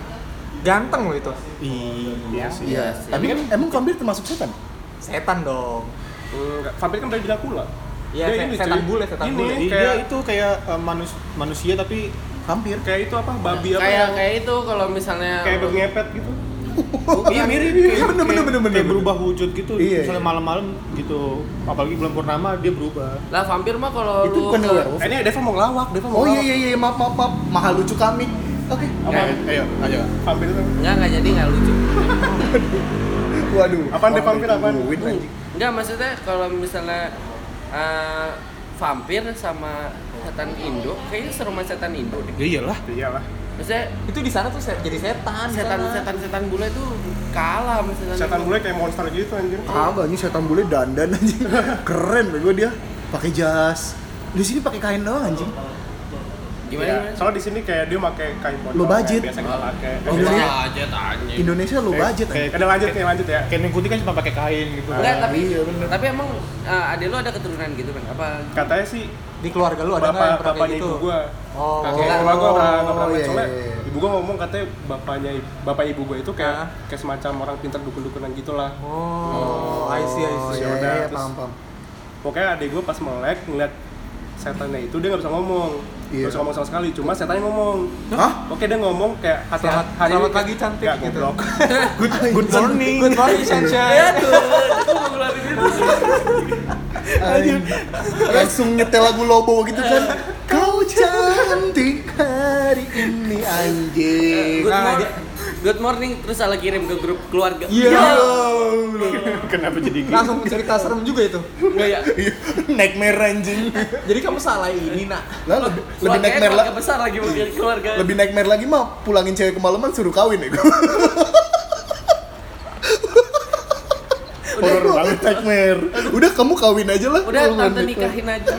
Ganteng loh itu. Iya sih. Iya. sih. Tapi emang vampir termasuk setan? Setan dong. Enggak, vampir kan dari Dracula. Iya, Dia se- ini, setan cuy. bule, setan Ini, bule. Iya, Kayak, itu kayak eh, manus- manusia tapi Vampir. kayak itu apa babi ya? apa kayak yang- kayak itu kalau misalnya kayak berngepet gitu. Iya mirip. Iya, bener, bener, bener, bener. Kayak berubah wujud gitu. Iya, iya. Misalnya malam-malam gitu. Apalagi bulan purnama dia berubah. lah vampir mah kalau Itu lu bukan ke- werewolf. Eh, ini Deva mau ngelawak, Deva mau Oh iya ngelawak. iya iya maaf maaf maaf. Mahal lucu kami. Oke. Apa? Ayo, ayo. Vampir itu. kan, Enggak, enggak jadi enggak lucu. Waduh. Apaan deh vampir apaan? Duit anjing. Enggak, maksudnya kalau misalnya eh, vampir sama setan Indo, kayaknya serumah setan Indo deh. Iya. Ya iyalah. Iyalah. Maksudnya Itu di sana tuh se- jadi setan. kan? di setan sana. setan setan bule tuh kalah sama setan. Setan bule kayak monster gitu anjir. Kagak ini setan bule dandan (laughs) anjing. Keren bego dia. Pakai jas. Di sini pakai kain doang anjing. Gimana? Iya. gimana? Soalnya di sini kayak dia pakai kain pocong. Low budget. kayak Biasa kita pakai. Oh, iya. Wah, aja tanya. Indonesia lu budget kayak- anjing. Ada lanjut nih, lanjut ya. Kayak Neng Kuti kan cuma pakai kain gitu. Enggak, tapi iya, bener. tapi emang eh, adek lu ada keturunan gitu kan? Apa Katanya sih Di keluarga lu ada nggak bapak yang pernah kayak bapaknya gitu? ibu gua. Oh. kakek Oh, gua gua pernah nggak pernah iya, main. soalnya iya, iya. ibu gua ngomong katanya bapaknya bapak ibu gua itu kayak Ah. kayak semacam orang pintar dukun-dukunan gitulah. Oh, I see, I Oh see. iya Yaudah, iya, iya, terus- paham paham. Pokoknya adik gua pas melek ngeliat setannya itu dia nggak bisa ngomong. Iya. Nggak bisa ngomong sama sekali, cuma setannya ngomong. Hah? Oke dia ngomong kayak hati Selamat- hari selamat pagi, cantik, Nggak, gitu. (laughs) goblok. Good good morning. Iya. Good morning, sunshine. Anjing. Langsung nyetel lagu Lobo gitu kan. Kau cantik hari ini anjing. Good Nah, morning. dia- good morning terus salah kirim ke grup keluarga. Iya. Kenapa jadi gitu? Langsung cerita serem juga itu. Enggak ya. nightmare anjing Jadi kamu salah ini, Nak. lah lebih, lebih Keluarganya nightmare lah keluarga besar lagi mungkin keluarga. lebih nightmare lagi mah pulangin cewek kemalaman suruh kawin ya gue Horor banget. nightmare udah kamu kawin aja lah Udah kalau tante nightmare. nikahin aja.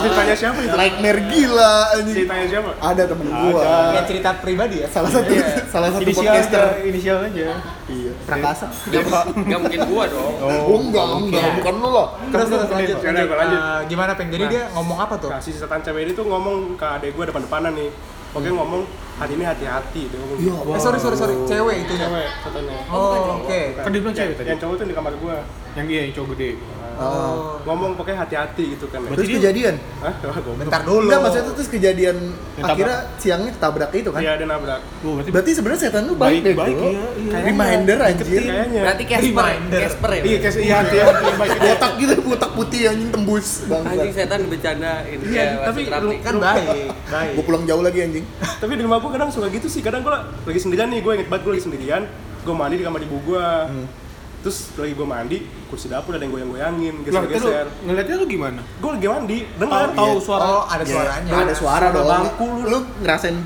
Ceritanya siapa itu? nightmare gila anjing Ceritanya siapa? ada temen gua Eh. Ya cerita pribadi ya. salah satu salah satu Inisial aja, podcaster inisial aja. iya prakasa Gak, gak mungkin gua dong. oh, enggak enggak bukan lo lah Terus terus lanjut. Yaudah, gua lanjut. Eh, gimana peng? Jadi Nah. dia ngomong apa tuh? Nah, si setan cewek ini tuh ngomong ke adek gue depan-depanan nih. Pokoknya Hmm. ngomong, hari ini hati-hati. Dia ngomong Iya. Oh. gitu. Eh sorry sorry sorry, cewek itu ya. Cewek, setannya. Oh oke. Kan dia bilang cewek tadi. Yang cowok tuh di kamar gue. Yang iya, yang cowok gede. Oh. Ngomong pokoknya hati-hati gitu kan. ya. terus kejadian Hah? Wah, goblok. Bentar dulu. enggak maksudnya tuh terus kejadian Ditabrak. akhirnya siangnya ketabrak itu kan Iya, ada nabrak. Wah, berarti berarti sebenarnya setan lu baik deh Baik-baik, bro iya, iya. reminder anjir Kayaknya. Berarti Casper, Reminder. Casper ya. Iya, kayak iya hati hati yang baik. botak gitu botak putih anjing tembus Anjing bangsa setan bercandain. Iya, kayak tapi wasit rapi. kan baik, (laughs) baik. gua pulang jauh lagi anjing tapi di rumah gue kadang suka gitu sih kadang gue lagi sendirian nih gue inget banget gue lagi sendirian gue mandi di kamar ibu gue terus lagi gue mandi kursi dapur ada yang goyang-goyangin Lah, kan lu geser-geser ngeliatnya lu gimana? gue lagi mandi dengar iya, Tahu tahu suara Oh, ada suaranya. ada suara Suara dong bangku lu. lu ngerasain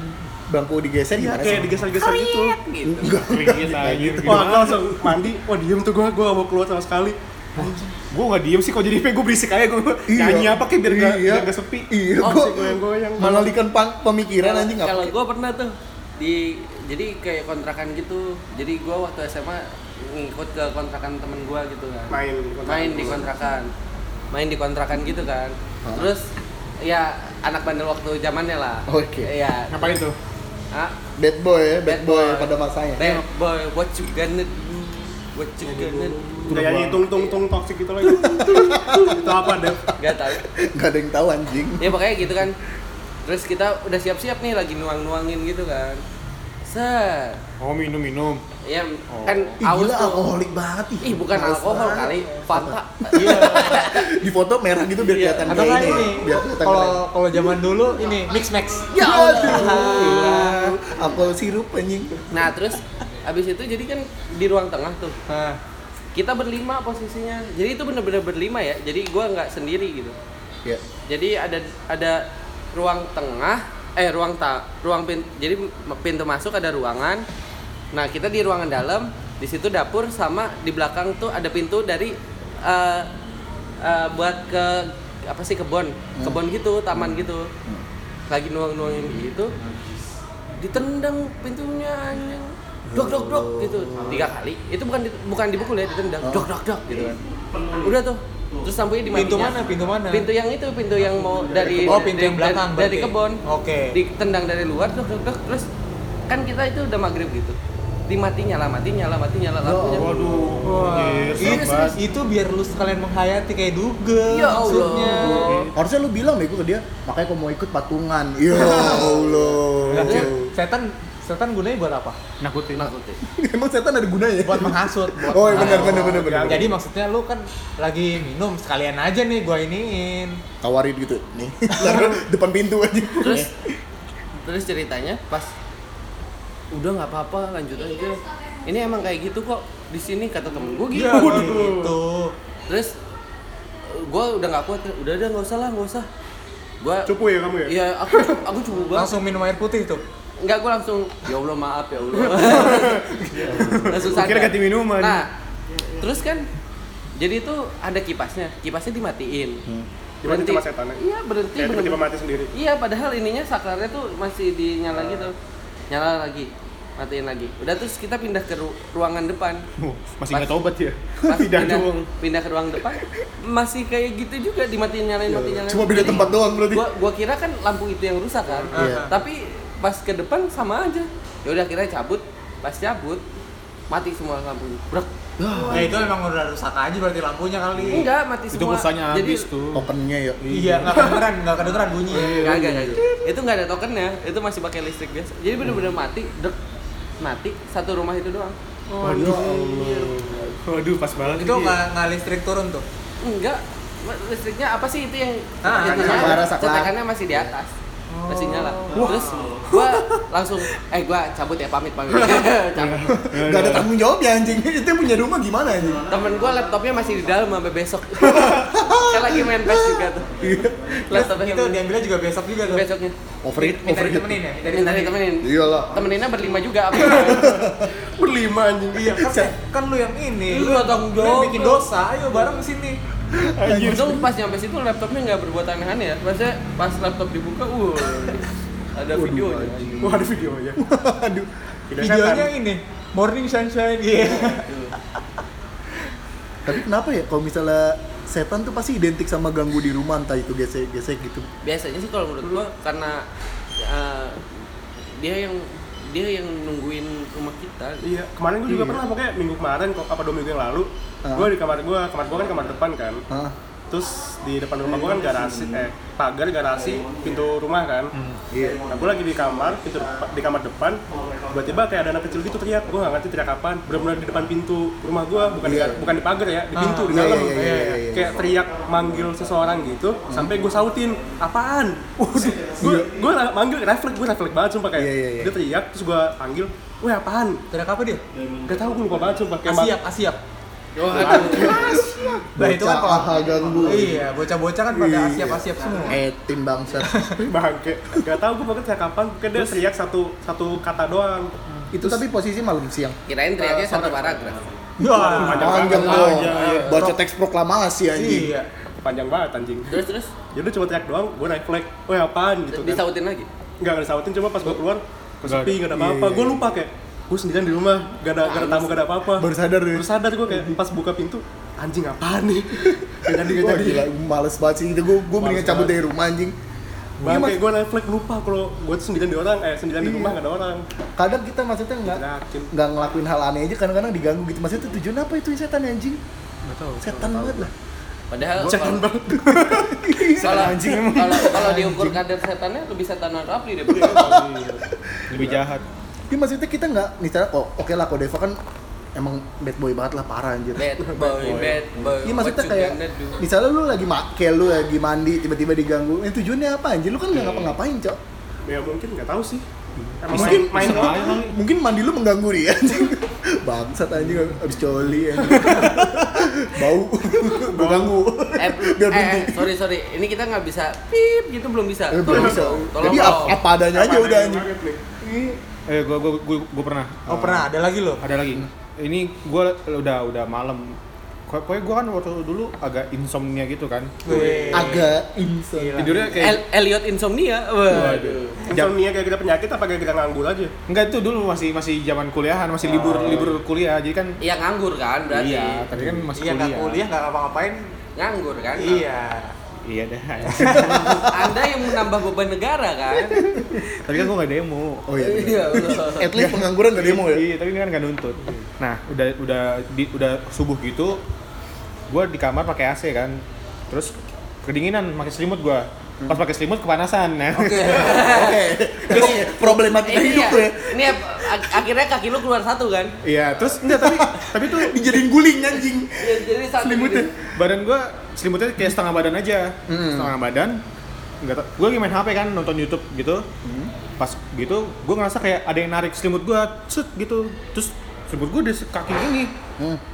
bangku digeser iya gimana kayak sih? digeser-geser gitu Gitu. keringet anjir. gitu. wah gue langsung mandi wah diem tuh gue gue mau keluar sama sekali Gue gak diem sih kok jadi gue berisik aja gue Iya. nyanyi apa kayak biar gak, Iya. biar gak sepi. iya Oh, gua si goyang-goyang. mengalihkan pang- pemikiran Kalau- anjing apa Kalau gua pernah tuh di jadi kayak kontrakan gitu. Jadi gua waktu SMA ngikut ke kontrakan temen gua gitu kan. main di kontrakan main di gua. kontrakan main di kontrakan gitu kan terus ya anak bandel waktu zamannya lah Oke. ya Ngapain tuh? ah, bad boy ya bad boy pada ya. masanya (laughs) bad boy what you gonna do what you gonna do Kayak nyanyi tung tung tung toksik gitu lagi itu apa deh gak tau gak ada yang tahu anjing ya pokoknya gitu kan terus kita udah siap-siap nih lagi nuang-nuangin gitu kan set Oh minum-minum. ya kan Oh. Ih, aus gila tuh alkoholik banget ih. ih bukan Males alkohol banget. kali fanta di foto merah gitu biar Iya. kelihatan Atau kayak Iya, kan ini, biar kelihatan kalau kalau zaman dulu ini mix max. keren. ya aduh alkohol sirup anjing nah terus abis itu jadi kan di ruang tengah tuh Nah, kita berlima posisinya jadi itu bener-bener berlima ya jadi gua nggak sendiri gitu ya jadi ada ada ruang tengah eh ruang ta ruang pintu jadi m- pintu masuk ada ruangan nah kita di ruangan dalam di situ dapur sama di belakang tuh ada pintu dari eh, eh, buat ke apa sih kebun kebun gitu taman gitu lagi nuang nuangin gitu ditendang pintunya anjing dok dok dok gitu tiga kali itu bukan di- bukan dipukul ya Oh. ditendang dok dok dok gitu kan udah tuh terus sampainya di pintu matinya. mana? Pintu mana? Pintu yang itu, pintu yang mau dari Oh, pintu yang dari- belakang dari, dari berarti. kebon. Oke. Ditendang dari luar, dok, dok, dok, terus kan kita itu udah maghrib gitu. Dimati nyala, mati nyala, mati nyala lampunya. Waduh. anjir, serem Iya, banget. itu biar lu sekalian menghayati kayak dugem Ya Allah. maksudnya. harusnya lu bilang deh gua ke dia makanya kalau mau ikut patungan ya Allah Nah, setan setan gunanya buat apa? Nakutin. Nakutin. emang setan ada gunanya Buat menghasut. Buat oh iya, menghasut. benar benar benar benar Jadi maksudnya lu kan lagi minum sekalian aja nih gua iniin. tawarin gitu nih (laughs) taruh depan pintu aja Terus (laughs) Iya. terus ceritanya pas udah nggak apa-apa lanjut aja. Ini emang kayak gitu kok di sini kata temen gue gitu. Iya, gitu. Terus gue udah nggak kuat, ya. udah udah nggak usah lah nggak usah. Gue cupu ya kamu ya Iya, aku aku coba banget. Langsung minum air putih tuh. Enggak, gue langsung, ya Allah maaf ya Allah. langsung Gua kira sadar. ganti minuman. Nah, terus kan, jadi itu ada kipasnya, kipasnya dimatiin. Dimatiin sama setannya. Iya, berhenti. kayak tiba-tiba bener-bener. mati sendiri Iya, padahal ininya saklarnya tuh masih Ah. dinyala gitu. Nyala lagi, matiin lagi. Udah terus kita pindah ke ru- ruangan (laughs) depan. Wuh, Masih nggak tobat ya? Pas Tidak pindah, dong. pindah ke ruang depan masih kayak gitu juga dimatiin nyalain matiin nyalain Iya. Cuma beda Jadi, tempat doang berarti. gua gua kira kan lampu itu yang rusak kan Iya. tapi pas ke depan sama aja ya udah akhirnya cabut pas cabut mati semua lampunya Brak. Ya itu emang udah rusak aja berarti lampunya Iya. kali. enggak mati Itu semua pulsanya jadi habis tuh. opennya ya Iya, nggak kedengeran, nggak kedengeran bunyinya. Iya. enggak enggak enggak. itu nggak ada tokennya itu masih pakai listrik biasa jadi bener-bener mati dek mati satu rumah itu doang Ya Allah. Waduh, pas banget. Itu ini. nggak nggak listrik turun tuh. enggak listriknya apa sih itu yang Ah, itu yang ya, marah saklar. cetakannya masih di atas masih nyala terus gua langsung eh gua cabut ya pamit (laughs) pamit cabut Iya, Gak ada tanggung jawabnya anjing. (laughs) Itu yang punya rumah gimana anjing? temen gua laptopnya masih di dalam sampai (laughs) besok kan lagi main PES juga tuh laptopnya Iya. itu diambilnya juga besok juga tuh. besoknya Overheat, Minta overheat. ditemenin ya? Minta minta ditemenin. ditemenin Iyalah. temeninnya berlima (laughs) juga apa berlima anjing Iya, kan, kan lu yang ini. Lu yang tanggung jawab. yang bikin dosa, ayo bareng sini. untung pas nyampe situ laptopnya nggak berbuat aneh-aneh ya maksudnya pas laptop dibuka uh ada videonya wah ada videonya Aduh. Tidak Videonya kan? setan. ini Morning Sunshine. Iya. Tapi kenapa ya kalau misalnya setan tuh pasti identik sama ganggu di rumah entah itu gesek-gesek gitu. biasanya sih kalau menurut Hmm. gua karena eh, dia yang dia yang nungguin rumah kita Iya, kemarin gue juga pernah pokoknya minggu kemarin kok apa dua minggu yang lalu, Ah. gue di kamar gue, kamar gue kan kamar depan kan. Hah? Terus di depan rumah gue kan garasi, eh pagar garasi pintu rumah kan. Iya. Nah, gue lagi di kamar, pintu dep- di kamar depan, tiba-tiba kayak ada anak kecil gitu teriak, gue gak ngerti teriak kapan, benar-benar di depan pintu rumah gue, bukan di, Iya. bukan di pagar ya, di pintu di Iya, iya, dalam, iya, Kayak- iya, Hmm. iya. kayak teriak manggil seseorang gitu, sampai gue sautin, apaan? Waduh, gue gue manggil refleks, gue refleks banget sumpah kayak Iya, iya, iya. dia teriak, terus gue panggil, weh apaan? Teriak apa dia? Gak tau gue lupa banget sumpah kayak Asiap, asiap. Oh, Nah, itu kan kalau- Bocah ganggu. Iya, bocah-bocah kan pada Iya. asiap-asiap semua. Eh, tim (laughs) bangsat. bang- bangke Gak tau gue pokoknya teriak kapan Mungkin dia teriak satu satu kata doang itu tapi posisi malam siang. kirain teriaknya satu paragraf Iya. Wah. Panjang banget, dong. panjang, iya. Baca teks proklamasi anjing. Iya. Panjang banget anjing terus terus Jadi cuma teriak doang Gue refleks Weh apaan gitu kan disautin lagi Gak ada sautin Cuma pas Oh. gue keluar Gue Nggak sepi gak iya, ada apa-apa Gue lupa kayak Gue sendirian di rumah Gak ada, gak ada tamu gak ada apa-apa Baru sadar deh. Baru sadar gue kayak Pas buka pintu Anjing apaan (laughs) nih Gak jadi gak Wah, jadi gila, males banget sih itu gue gue Males mendingan cabut banget. dari rumah anjing Bangke gue refleks lupa kalau gue tuh sendirian di orang Eh sendirian di Iya. rumah gak ada orang kadang kita maksudnya nggak Yakin nggak ngelakuin hal aneh aja kadang-kadang diganggu gitu maksudnya tuh tujuan apa itu setan anjing setan banget lah padahal Jangan kalau (laughs) banget kalau anjing emang. kalau kalau diukur kadar setannya lebih setanan Rapli deh bro. lebih jahat tapi maksudnya kita nggak misalnya oh, oke lah kok Deva kan emang bad boy banget lah parah anjir bad boy bad boy Iya maksudnya what you kayak gonna (laughs) do? misalnya lu lagi make lu lagi mandi tiba-tiba diganggu. Eh tujuannya apa anjir? Lu kan nggak ngapa-ngapain, Cok. Ya mungkin gak tau sih Emang Mungkin main, main mungkin- doang mungkin mandi lu mengganggu dia anjing. (laughs) Bangsat anjing habis coli anjing. (laughs) Bau. (laughs) Gua ganggu. eh, Biar eh, eh, berhenti. sorry sorry ini kita nggak bisa pip gitu belum bisa Eh, belum bisa. tolong Jadi dong. ap- apa adanya aja Apaan udah yang anjing. banget nih? eh gua gua gua, gua pernah Ah. Oh, pernah ada lagi loh. ada lagi ini gua udah udah malam Kok- pokoknya gua kan waktu dulu agak insomnia gitu kan Weh. Agak insane. Gila. tidurnya kayak El- Elliot insomnia waduh Jam- Insomnia gara-gara penyakit apa gara-gara nganggur aja? enggak itu dulu masih masih zaman kuliahan masih libur libur kuliah jadi kan Iya nganggur kan berarti iya tadi kan masih Iya, nggak kuliah. kuliah, nggak ngapa-ngapain. nganggur kan Iya. ah. iya dah (laughs) anda yang menambah beban negara kan tapi kan gua nggak demo Oh iya. bener. iya betul. At least pengangguran gak demo (laughs) ya. Iya, tapi kan nggak nuntut. Nah, udah udah di, udah subuh gitu, gue di kamar pakai AC kan, terus kedinginan, pakai selimut gue. Pas pakai selimut kepanasan. Nah. Oke. Terus iya. problematika ini hidup ya, lu ya. ini ap- ak- akhirnya kaki lu keluar satu kan (laughs) Iya, terus enggak tapi tapi tuh Dijadiin guling anjing. Ya, jadi satu selimutnya gitu. badan gue selimutnya kayak setengah badan aja, Hmm. setengah badan. Enggak tau, gue lagi main HP kan nonton YouTube gitu. Hmm. Pas gitu, gue ngerasa kayak ada yang narik selimut gue, set gitu. Terus selimut gue di kaki ini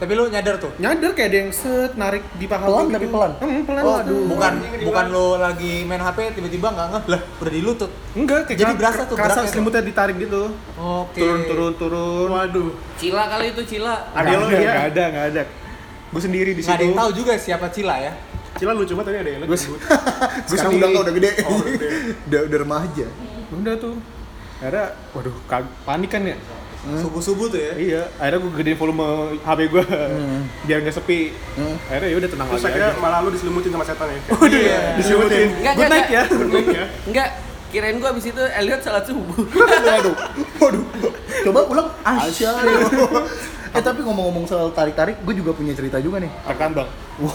Tapi lu nyadar tuh. nyadar kayak ada yang set narik di paha Pelan gua tapi gitu. pelan? Hmm, Kan pelan Oh, aduh. Bukan bukan lu lagi main HP tiba-tiba nggak ngeh lah, udah di lutut. Enggak, kayak Jadi kera- berasa tuh, kerasa geraknya tuh. selimutnya ditarik gitu. Oke. Turun turun turun. Waduh. cila kali itu cila Ada lo lo ya? ya? Enggak ada, enggak ada. Gue sendiri di Nggak ada situ. yang tahu juga siapa Cila ya. Cila lucu banget tadi ada yang Gue lucu. Sekarang sendiri. udah nggak, udah gede. Oh, udah gede. (laughs) Udah udah remaja. Udah tuh. Akhirnya, waduh, kag- panik kan ya? Subuh-subuh tuh ya. Iya, akhirnya gue gedein volume HP gue Hmm. biar nggak sepi. Akhirnya ya udah tenang Terus lagi akhirnya aja. malah lu diselimutin sama setan ya. Iya. Diselimutin. Enggak, Good enggak, night ya. Good night ya. enggak kirain gua abis itu Elliot salat subuh waduh, waduh. Coba ulang asyik. (laughs) eh tapi ngomong-ngomong soal tarik-tarik, gue juga punya cerita juga nih. Tekan bang. (laughs)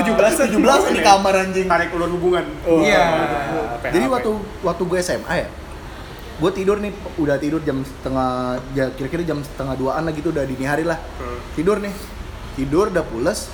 Tujuh belas, tujuh belas di kamar anjing. Tarik ulur hubungan. Oh, Iya. Apa ya, Jadi apa waktu waktu gue SMA ya, gue tidur nih udah tidur jam setengah ya kira-kira jam setengah duaan lah gitu udah dini hari Hmm. lah tidur nih tidur udah pules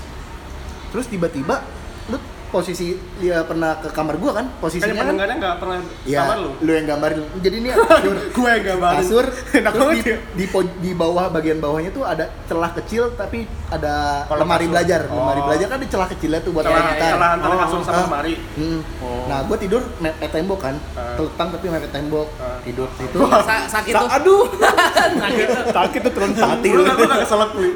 terus tiba-tiba lu posisi dia pernah ke kamar gua kan kan posisinya yang kan pendengarnya nggak pernah ya kamar lu lu yang gambarin jadi (laughs) ini kasur gue yang gambarin (laughs) kasur Enak terus di, banget ya. di, po- di bawah bagian bawahnya tuh ada celah kecil tapi ada Kalau lemari kasur. belajar lemari Oh. belajar kan ada celah kecilnya tuh buat celah main gitar. celah antara kasur sama Ah. lemari Hmm. Oh. Nah, gue tidur mepet tembok kan, Ah. telentang tapi mepet tembok, Ah. tidur situ. Sa- sakit tuh. Aduh. (laughs) sakit tuh. sakit tuh turun Lu Iya, sakit nggak- lu nggak keselak Wi.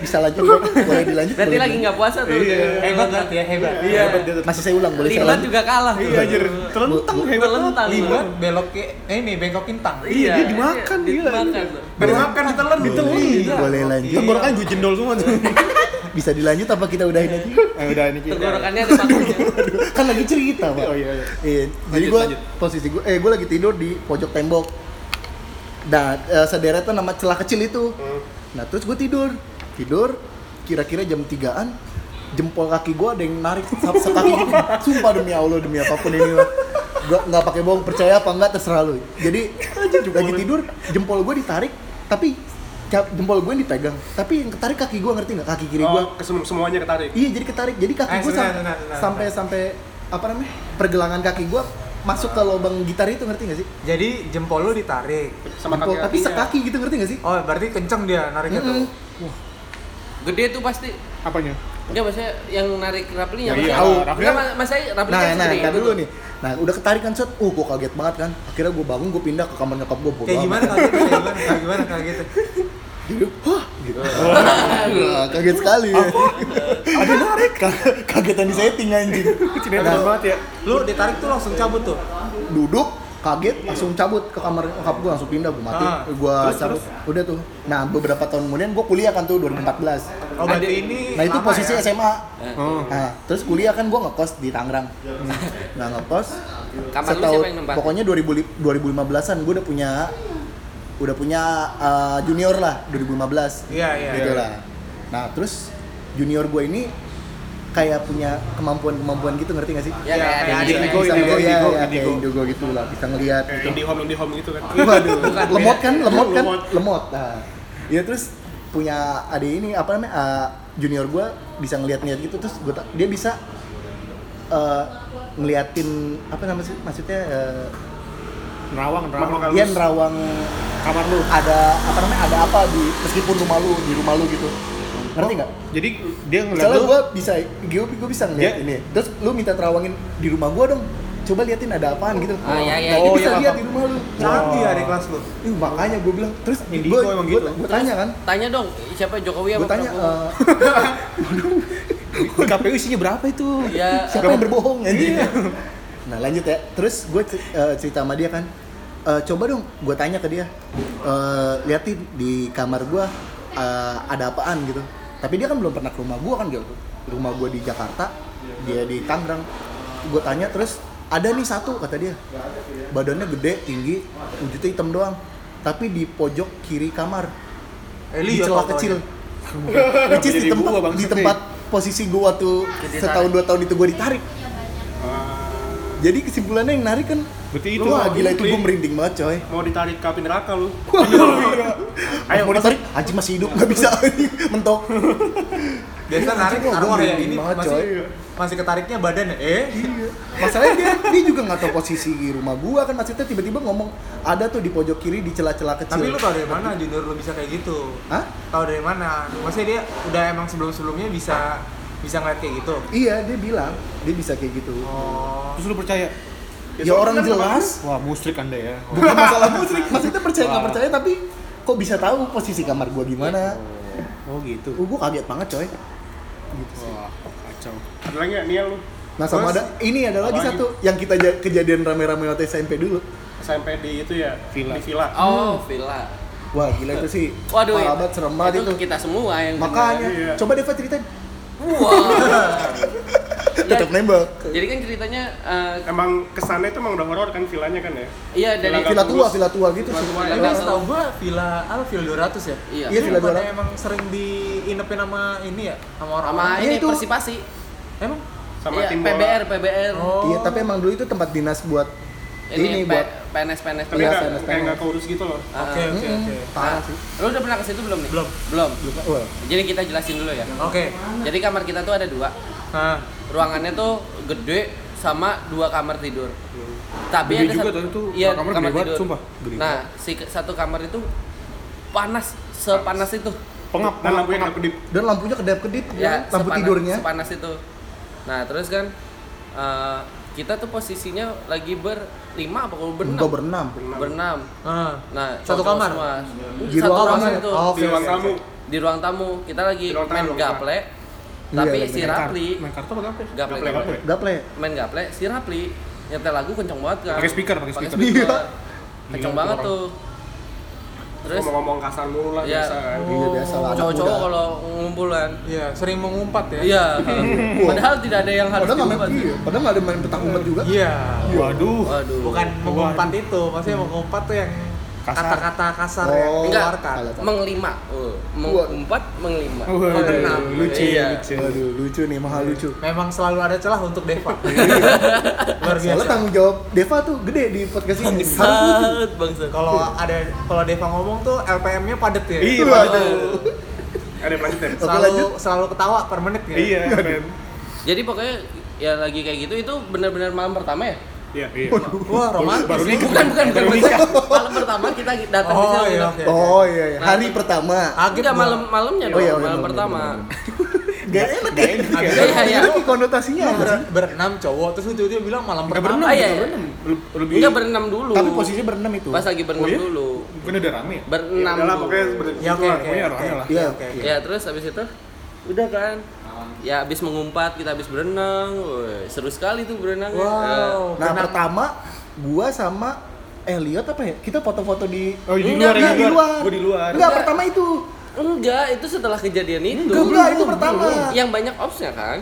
Bisa lanjut, (laughs) Bro. boleh dilanjut. Berarti boleh lagi nggak puasa tuh. hebat berarti ya hebat Iya. dilanjut. masih saya ulang, boleh saya Libat lanjut. juga kalah. tuh. iya anjir telentang Bu- bu- hebat Telentang. libat Iya. belok ke eh, ini bengkokin tang Iya, dia dimakan, gila. Dimakan. tuh. Bermakan kan ditelan ditelan Boleh, boleh lanjut. tenggorokan gue jendol semua tuh Bisa dilanjut apa kita udahin aja? eh, udah ini kita Tenggorokannya ada pakunya. kan lagi cerita, Pak. oh iya iya Iya. Jadi Lanjut, gue lanjut. posisi gue, eh gue lagi tidur di pojok tembok. Nah, eh, sederetan nama celah kecil itu. Hmm. Nah, terus gue tidur, tidur. Kira-kira jam 3-an, jempol kaki gue ada yang narik se- sekaki gitu. Sumpah demi Allah, demi apapun ini lah. Gua nggak pakai bohong, percaya apa nggak terserah lu. Jadi lagi tidur, jempol gue ditarik, tapi ca- jempol gue yang dipegang. Tapi yang ketarik kaki gue ngerti nggak? Kaki kiri gue. oh kesem- semuanya ketarik Iya jadi ketarik. Jadi kaki Eh, gue sebentar, sampai sebentar, sebentar, sampai sampai apa namanya pergelangan kaki gue masuk ke lubang gitar itu ngerti gak sih? jadi jempol lu ditarik sama Jempol, kaki tapi ya? sekaki gitu ngerti gak sih? oh berarti kenceng dia nariknya tuh Mm-mm. Gede tuh pasti. apanya Enggak maksudnya yang narik raplinya. Iya, Rapli. rapli Enggak kan- Mas- mas saya rapli Nah, kan nah, segede ntar gitu. itu dulu tuh. nih. Nah, udah ketarikan set. Uh, gue kaget banget kan. Akhirnya gue bangun, gue pindah ke kamar nyokap gue. kayak gimana kalau gitu kayak gimana kayak gimana kalau gitu Jadi, wah, (laughs) gitu. Wah, kaget sekali. Ya. (laughs) Ada narik. Kagetan di setting anjing. Cinetan banget ya lu ditarik tuh langsung cabut tuh Oh, duduk kaget langsung cabut ke kamar nyokap gue langsung pindah gue mati Ah, gue cabut udah tuh nah beberapa tahun kemudian gue kuliah kan tuh 2014 oh berarti ini nah itu lama posisi ya? SMA Eh. oh nah, terus kuliah kan gue ngekos di Tangerang nah ngekos Kamar lu siapa yang nempatin? pokoknya 2000, 2015an gue udah punya udah punya uh, junior lah 2015 Iya, iya, gitu iya. lah nah terus junior gue ini kayak punya kemampuan-kememampuan gitu ngerti gak sih? Ya Iya, kayak kayak ada adik. ini. Bisa Indigo, ngeliat, ya, indigo, indigo, ya, kayak indigo. indigo gitu lah, bisa ngeliat kayak gitu. indie home indie home gitu kan Waduh, Bukan, lemot kan, lemot kan, Lemot. lemot. Nah, ya terus punya adik ini apa namanya eh, junior gue bisa ngeliat-ngeliat gitu terus gue dia bisa eh, ngeliatin apa namanya sih maksudnya eh, nerawang Makhluk nerawang halus. dia nerawang kamar lu ada apa namanya ada apa di meskipun rumah lu di rumah lu gitu ngerti nggak? jadi dia ngeliat Misalnya Oh, lu gue bisa, gue gue bisa ngeliat Dia- ini. Terus lu minta terawangin di rumah gue dong. Coba liatin ada apaan gitu. Ah, iya, iya, Nah, dia bisa iya. Oh, iya, lihat paham. di rumah lu. canggih adik Iya, kelas lu Ih, makanya gue bilang. Terus Indigo gua- emang gua- gitu. Gua tanya kan. Tanya dong, siapa Jokowi apa Gue tanya. Prabowo? eh, di KPU isinya berapa itu Ya, eh, siapa yang berbohong anjing nah lanjut ya terus gue cerita sama dia kan "Eh, coba dong gue tanya ke dia "Eh, liatin di kamar gue eh, ada apaan gitu tapi dia kan belum pernah ke rumah gue kan gitu rumah gue di Jakarta dia di Tangerang gue tanya terus ada nih satu kata dia badannya gede tinggi wujudnya hitam doang tapi di pojok kiri kamar eh di lihat celah fotonya. kecil which is di Jadi tempat gua, Bang di Seti. tempat posisi gua waktu Jadi setahun tarik. dua tahun itu gua ditarik Ah. jadi kesimpulannya yang narik kan berarti itu itu wah gila itu Klik. gua merinding banget coy mau ditarik ke api neraka lu ayo mau ditarik anjing masih hidup nggak bisa (laughs) anjing, mentok biasa narik Anjing, arwah gua ya ini merinding banget, masih coy. masih ketariknya badan ya eh masalahnya dia dia juga nggak tahu posisi rumah gua kan maksudnya tiba-tiba ngomong ada tuh di pojok kiri di celah-celah kecil tapi lu tau dari mana junior lu bisa kayak gitu Hah? tau dari mana maksudnya dia udah emang sebelum sebelumnya bisa bisa ngeliat kayak gitu iya dia bilang dia bisa kayak gitu oh terus lu percaya ya orang jelas wah musrik anda ya (laughs) bukan masalah musrik maksudnya percaya nggak percaya tapi kok bisa tahu posisi kamar gua gimana oh gitu Uh, gue kaget banget coy. Gitu sih. wah kacau ada lagi nggak nih lu Nah sama Terus, ada ini ada lagi apalagi? satu yang kita ja- kejadian rame-rame waktu SMP dulu. SMP di itu ya Villa. di villa oh, villa. Wah gila itu sih. Waduh, iya. ya. parah banget, Hmm. serem banget itu. kita semua yang Makanya Iya. coba Deva ceritain. (laughs) Wah. Iya. Tetap nembak. Jadi kan ceritanya eh, emang kesannya itu emang udah horor kan villanya kan ya iya dari Nggak Villa tua, bagus. villa tua gitu Villa sih. tua, iya. Tapi Villa- setahu gua villa apa villa 200 ya? Iya. Iya, Villa pada 200. Emang sering diinepin sama ini ya, sama orang. sama Iya, ini itu. persipasi. Emang? sama Iya, tim bola. PBR, PBR. Oh. Iya tapi emang dulu itu tempat dinas buat ini, P- buat PNS PNS. tapi Iya, saya nggak- kayak understand. nggak keurus gitu loh Ah, Oke, oke, Mm-mm. oke. parah sih. Lu udah pernah ke situ belum nih? Belum. Belum. Wah, Jadi kita jelasin dulu ya. Oke. Jadi kamar kita tuh ada dua. Nah, ruangannya tuh gede sama dua kamar tidur tapi Hmm. Gede ada juga satu- tuh, itu iya, kamar kamar, gede banget, tidur sumpah, gede nah si ke- satu kamar itu panas sepanas itu Pengap, Dan pengap, lampunya pengap. kedap kedip. dan lampunya kedap-kedip Iya, ya lampu sepanas- tidurnya sepanas itu nah terus kan eh, kita tuh posisinya lagi berlima apa kalau berenam enggak berenam berenam Ah. nah Satu cowok-cowok kamar? semua. Di satu ruang kamar tamu ya? itu Oh, Di ruang tamu. di ruang tamu kita lagi Di ruang tamu, main ruang tamu. gaple Iya, tapi iya, si main Rapli Main kartu apa apa? Gaple, gaple, gaple. gaple main gaple si Rapli nyetel lagu kenceng banget kan Pakai speaker, pakai speaker. Iya. Iya. kenceng Gila, banget orang. tuh terus ngomong-ngomong kasar mulu lah Iya. biasa kan. iya biasa lah anak cowok-cowok muda. kalau ngumpul kan Iya, sering mengumpat ya. iya padahal tidak ada yang harus padahal nggak diubah main sih. iya, padahal nggak ada main petak umpet juga Iya. Waduh. waduh Bukan mengumpat itu, maksudnya mengumpat tuh yang Kasar. kata-kata kasar Oh, yang enggak dikeluarkan. salah. menglima oh, mengumpat menglima Waduh, Berenam. lucu, Iya. lucu. Waduh, lucu nih, mahal lucu. Memang selalu ada celah untuk (laughs) Deva. Luar Soalnya kan- biasa. tanggung jawab Deva tuh gede di podcast ini. Bangsat, bangsat. gitu. Kalau ada kalau Deva ngomong tuh LPM-nya padet ya. Iya, Waduh. waduh. Ada yang ya? lanjutin. Oke, Selalu lanjut. selalu ketawa per menit ya. (laughs) Iya, keren. Jadi pokoknya ya lagi kayak gitu itu benar-benar malam pertama ya? Iya, iya. Wah, romantis. Baru nikah. Bukan bukan bukan malam pertama kita datang di Oh, sana. iya, Iya. oke. Oh iya, iya. Nah. hari pertama. Kaget Enggak gua. malam malamnya Oh, dong, iya, iya, malam bener, pertama. Gak enak ya. Enak ya. Iya, iya, iya. Itu di konotasinya apa sih? Ber- berenam cowok terus lu tiba-tiba bilang malam Nggak pertama. Ah, iya, iya. Lebih- Lebih. Enggak berenam dulu. Tapi posisinya berenam itu. Nah, pas lagi berenam Oh, iya? dulu. Bukan udah rame ya? Berenam Udah lah dulu. pokoknya seperti Iya, Ya oke lah. oke. pokoknya oke. orangnya lah. Iya Iya, oke. iya. Ya terus habis itu udah kan. Ya habis mengumpat kita habis berenang. Woy, seru sekali tuh Eh, berenang. Wow. Nah, berenang. pertama gua sama Elliot apa ya? Kita foto-foto di Oh, di Enggak, luar ya? Enggak, di luar. Gua di luar. Enggak, pertama itu. enggak, itu setelah kejadian itu. Enggak, enggak, itu pertama. Yang banyak opsnya kan?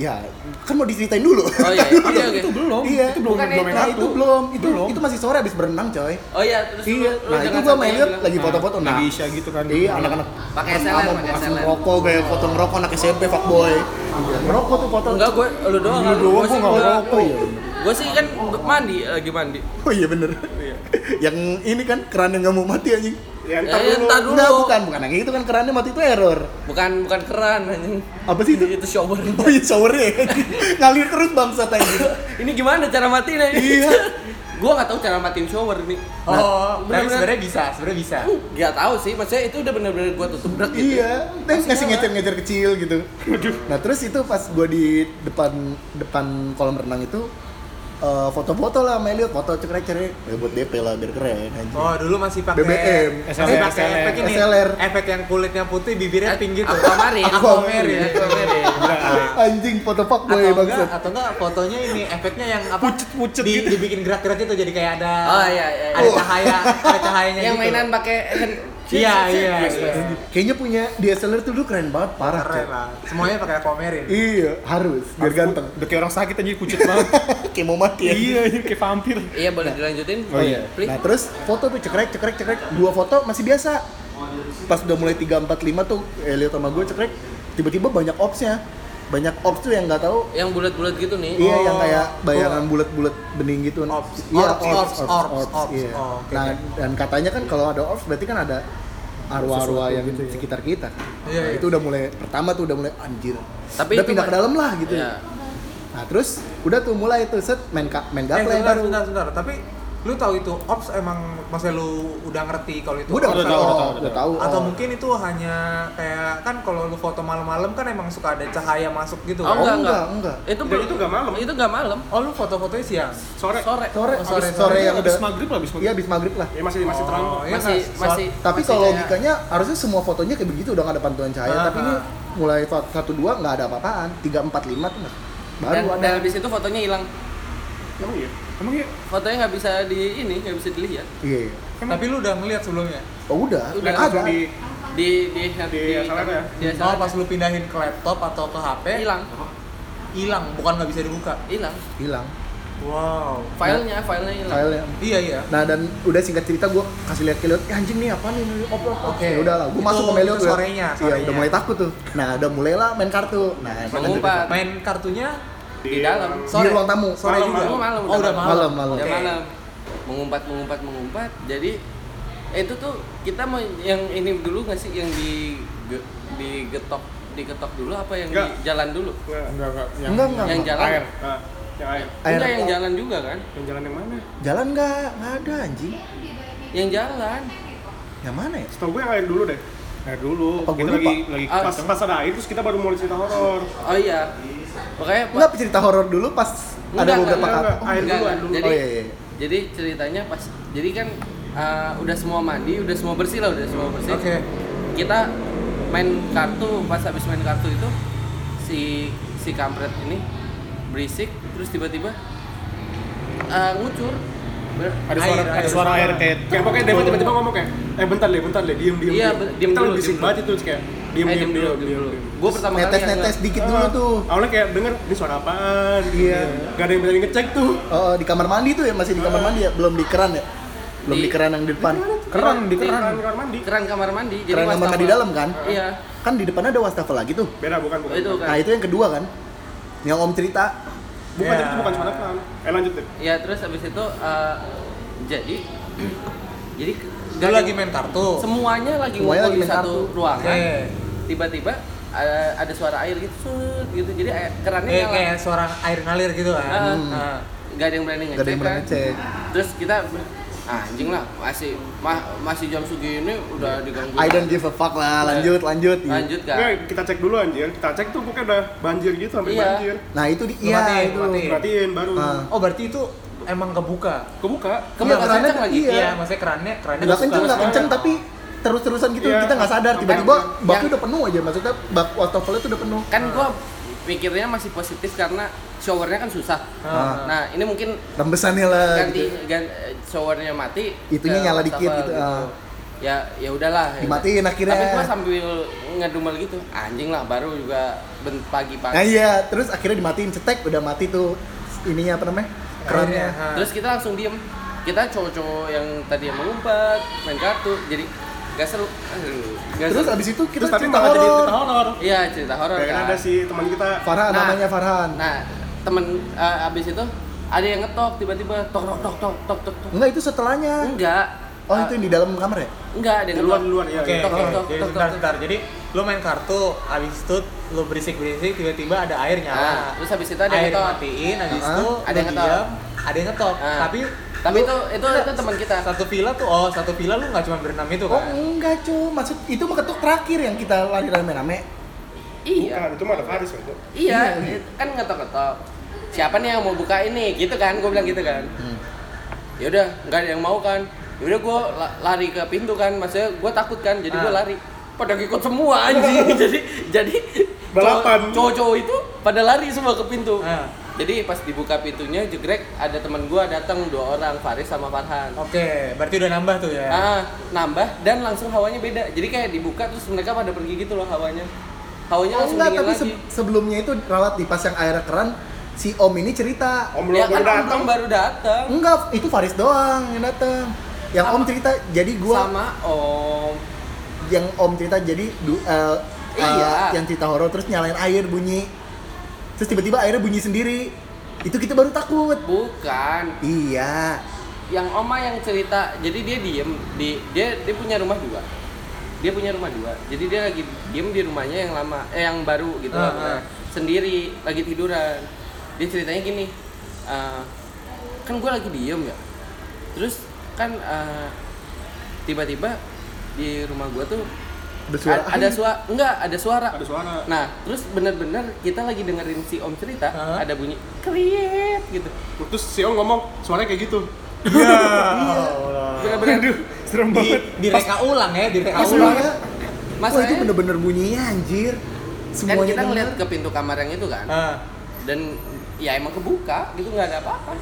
Ya, kan mau diceritain dulu. Oh iya, iya, iya, oke. Itu belum. Iya, Itu belum Bukan belum main Nah, kartu. itu belum. Itu Belum. itu masih sore habis berenang, coy. Oh iya, terus lu- Iya, lu nah itu gua jangan sampai sama yang Elliot bilang- lagi foto-foto nah. Lagi Isya gitu kan. Iya, anak-anak Pakai anak-anak SLR, pakai langsung SLR. rokok kayak foto ngerokok anak SMP fuckboy. Ngerokok tuh foto. Enggak, gue lu doang. Lu doang, sih gua nggak enggak. Oh iya. bener. Gue sih kan mandi lagi mandi. Oh iya bener. (laughs) yang ini kan kerannya nggak mau mati anjing. Ya, Eh, entar dulu. entar dulu. Enggak, bukan, bukan yang itu kan kerannya mati itu error. (laughs) Bukan bukan keran anjing. Apa sih itu? Itu shower. Oh iya showernya anjing. (laughs) ngalir terus bangsa tadi. Ini gimana cara matiin aja? (laughs) Iya. gue nggak tahu cara matiin shower ini. Nah. Oh, tapi bener-bener- sebenarnya bisa, sebenarnya bisa. Gak tahu sih, maksudnya itu udah bener-bener gue tutup berat gitu. iya, terus ngasih nyala. ngecer-ngecer kecil gitu. Nah terus itu pas gue di depan depan kolam renang itu eh, foto-foto lah sama Elliot, foto cekrek-cekrek ya, buat DP lah biar keren anjing. Oh, dulu masih pakai BBM. Masih SLR. pakai efek ini. SLR. Efek yang kulitnya putih, bibirnya tinggi tuh. Aquamarine. ya, Aquamarine. Aquamarine. Iya. (laughs) Anjing foto fuckboy atau enggak, bangsat. atau enggak fotonya ini efeknya yang apa? Pucet-pucet di, gitu. dibikin gerak-gerak itu jadi kayak ada Oh, iya, iya, iya. ada cahaya, ada cahayanya Yang gitu. mainan pakai hand. Iya, iya, iya. Kayaknya punya DSLR tuh dulu keren banget, parah. Keren Cok. lah. Semuanya pakai Eh, aquamarine. Iya, harus biar Harus ganteng. ku- Udah kayak orang sakit aja kucut banget. Kayak mau mati ya. Iya, iya, kayak vampir. Iya, boleh dilanjutin? Oh, iya. Please. Nah terus foto tuh cekrek cekrek cekrek dua foto masih biasa. Pas udah mulai 3 4 5 tuh Elliot sama gue cekrek tiba-tiba banyak opsnya. Banyak ops tuh yang nggak tahu Yang bulat-bulat gitu nih. Iya yang Oh, kayak bayangan bulat-bulat bening gitu. Orbs. Iya, Orbs, orbs, orbs, orbs, orbs, orbs, iya. oh, oke. Nah, dan katanya kan kalau ada orbs berarti kan ada arwah-arwah yang sekitar kita. Iya, nah, iya. itu udah mulai pertama tuh udah mulai anjir. Tapi udah itu pindah ke mah- dalam lah gitu. Iya. Nah, terus udah tuh mulai tuh set main ka- main Eh, gaple sebentar, baru. sebentar, sebentar. Tapi lu tahu itu ops emang maksudnya lu udah ngerti kalau itu Gua udah ops? Udah tahu, udah tahu, udah udah tahu. atau oh. mungkin itu hanya kayak kan kalau lu foto malam-malam kan emang suka ada cahaya masuk gitu Oh, kan? enggak, enggak, enggak. enggak. Itu Dan belum- itu nggak malam. Itu enggak malam. Oh, lu foto-fotonya siang. Sore. Sore. sore, Oh, sore, sore, sore yang Iya, Habis udah maghrib lah, habis iya maghrib. habis maghrib lah. Ya masih masih terang. Oh, iya Masih nggak? Soal- masih Tapi masih kalau kayak- logikanya harusnya semua fotonya kayak begitu udah nggak ada pantulan cahaya. Ah, Tapi ini ah. mulai fa- satu dua nggak ada apa-apaan. Tiga empat lima tuh nggak. baru dan, ada. dan habis itu fotonya hilang. Emang iya? Emang iya? Fotonya nggak bisa di ini, nggak bisa dilihat. Iya. iya. Tapi lu udah ngeliat sebelumnya. Oh udah, Udah, ada. Langsung di Di di di, SLR ya? di Oh, SLR. pas lu pindahin ke laptop atau ke HP, hilang, hilang, bukan nggak bisa dibuka. hilang. Hilang Wow. Filenya, filenya hilang. filenya. Iya, iya. Nah dan udah singkat cerita gue kasih lihat ke Elliot, "Eh, anjing nih apa nih upload Oke. Oke, udah lah, gue Itu- Ya masuk ke Elliot. itu udah- sorenya, Iya, sorenya. udah mulai takut tuh. Nah udah mulailah main kartu. Nah Mengumpat. Main kartunya Di dalam. Di ruang tamu. sore Malam, juga. Malam, malam, Oh, udah malam. Malam, malam. Udah Oke. malam. Mengumpat, mengumpat, mengumpat. Jadi eh, itu tuh kita mau yang ini dulu nggak sih yang di digetok diketok dulu apa yang Enggak. di jalan dulu? Enggak, enggak. Yang Enggak, enggak, yang enggak. jalan. air. Nah, yang air. Air. Enggak yang jalan juga kan? Yang jalan yang mana? Jalan enggak? Enggak ada anjing. Yang jalan. Yang mana ya? Setahu gue yang air dulu deh. Air dulu. Apa kita gua lagi lupa? lagi Ah, Pas, pas ada air terus kita baru mulai cerita horor. Oh iya. Makanya Pak, Enggak cerita horor dulu pas ada Enggak, beberapa enggak, kata. enggak. Oh, Air Enggak, dulu, enggak. air dulu. Jadi, Oh, iya, iya. jadi ceritanya pas jadi kan uh, udah semua mandi, udah semua bersih lah, udah semua bersih. Oke. Kita main kartu, pas habis main kartu itu si si kampret ini berisik terus tiba-tiba uh, ngucur. Ber- ada suara Air, ada air, suara suara. air kayak Kayak pokoknya Devon tiba-tiba ngomong kayak, eh bentar deh, bentar deh, diem, diem. Iya, be- diem Kita dulu, lagi bisik diem dulu. banget itu terus kayak, diem, eh, diem, diem, diem. diem. Gue pertama kali ya, yang Netes-netes ngeliat- dikit dulu Ah. tuh. Awalnya kayak denger, ini suara apaan? Iya. Gak ada yang berani ngecek tuh. Oh, di kamar mandi tuh ya masih di kamar mandi ya, belum di keran ya? Belum di, Di- keran yang di depan. keran di Di- keran. Kan, Kamar mandi. keran iya, kamar mandi jadi Keran yang makan di wastafel. dalam kan? Iya. Kan di depan ada wastafel lagi tuh. Beda, bukan, bukan. Itu kan. Nah, itu yang kedua kan? Yang Om cerita. Iya. Bukan, tapi itu bukan suara keran. Eh lanjut deh. Ya terus abis itu uh, jadi (clears throat) jadi kan? Lu lagi main kartu. semuanya lagi Semuanya ngumpul lagi di main satu kartu. Oke. ruangan. Tiba-tiba uh, ada suara air gitu, sut, gitu. Jadi air- kerannya Eh, nyala. kayak suara air ngalir gitu kan. Ah, Ah. Gak ada yang berani ngecek. Gak Hmm. ada yang berani kan. cek. Terus kita "Ah, anjing lah masih ma- masih jam segini udah diganggu. I don't give a fuck lah, lanjut, lanjut. Iya. Lanjut kan. Oke, kita cek dulu anjir. Kita cek tuh pokoknya udah banjir gitu, sampai Iya. banjir. Nah, itu di Lu iya matiin, itu. matiin. Berartiin baru. Ah. Oh, berarti itu emang kebuka. Kebuka. Kemudian Iya, kerannya kenceng lagi. Iya. Iya, maksudnya kerannya kerannya Nggak kenceng, kebuka. nggak kenceng, tapi terus-terusan gitu Iya. kita nggak sadar Sampai- tiba-tiba yang- baknya udah penuh aja maksudnya bak wastafelnya tuh udah penuh Kan gua pikirnya masih positif karena showernya kan susah. Ah. Nah, ini mungkin rembesannya lah ganti Eh, gitu. gan- eh, showernya mati Itunya ke nyala dikit wastafel gitu, ah. ya ya udahlah ya. Dimatiin akhirnya. tapi gua sambil ngedumel gitu anjing lah baru juga ben- nah pagi-pagi iya terus akhirnya dimatiin cetek udah mati tuh ininya apa namanya kerannya Ah. terus kita langsung diem kita cowok-cowok yang tadi yang melompat main kartu jadi gak seru Aduh, gak terus seru. abis itu kita Terus tapi cerita malah jadi horor cerita horor. iya cerita horor Kayak kan ada si teman kita. Farhan Nah. namanya Farhan nah temen eh, abis itu ada yang ngetok tiba-tiba tok tok tok tok tok tok tok enggak itu setelahnya enggak oh Ah, itu yang di dalam kamar ya enggak ada yang Di luar, ngetok. di luar, iya, Oke, iya. Tok, tok, oke. tok, Jadi tok, sebentar, tok. sebentar. Jadi lu main kartu, habis itu lu berisik-berisik, tiba-tiba ada air nyala. Nah, terus habis itu ada yang air ngetok. matiin, habis Ah, itu ada yang lu ngetok. diam, ada yang ngetok. Ah. Tapi tapi itu itu itu teman kita satu villa tuh, oh satu villa lu nggak cuma berenam itu oh kan? enggak cuy maksud itu ketuk terakhir yang kita lari rame-rame iya Bukan, itu mah ada Faris itu. iya kan ngetok-ngetok siapa nih yang mau buka ini gitu kan gue bilang gitu kan yaudah nggak ada yang mau kan yaudah gue lari ke pintu kan maksudnya gue takut kan jadi gue Ah. lari pada ngikut semua anjing jadi jadi Balapan. cowok- cowok-cowok itu pada lari semua ke pintu Ah. jadi pas dibuka pintunya jegrek ada teman gue datang dua orang Faris sama Farhan Oke, berarti udah nambah tuh ya. Ah, nambah dan langsung hawanya beda. Jadi kayak dibuka terus mereka pada pergi gitu loh hawanya. Hawanya oh langsung enggak dingin tapi lagi. se- sebelumnya itu ralat di pas yang airnya keran si Om ini cerita Iya, Om ya Lobo kan datang. Om baru datang enggak itu Faris doang yang datang yang Om cerita jadi gua sama Om. yang om cerita jadi du- eh, eh, Iya. yang cerita horor terus nyalain air bunyi terus tiba-tiba airnya bunyi sendiri itu kita baru takut Bukan. iya Yang Oma yang cerita. Jadi dia diem di dia dia punya rumah dua. Dia punya rumah dua. Jadi dia lagi diem di rumahnya yang lama eh yang baru gitu Ah, lah. ah. Sendiri lagi tiduran. Dia ceritanya gini. eh, kan gue lagi diem ya. Terus kan eh, tiba-tiba di rumah gue tuh ada suara A- ada air. suara enggak ada suara Ada suara. nah terus bener-bener kita lagi dengerin si om cerita Hah? ada bunyi kriet gitu Nah, Terus si Om ngomong, suaranya kayak gitu. Iya. bener-bener Di, Serem banget. direka ulang ya, direka Pas ulang. semuanya wah itu masalahnya bener-bener bunyinya anjir kan semuanya kita denger. ngeliat ke pintu kamar yang itu kan Ah. dan ya emang kebuka gitu nggak ada apa-apa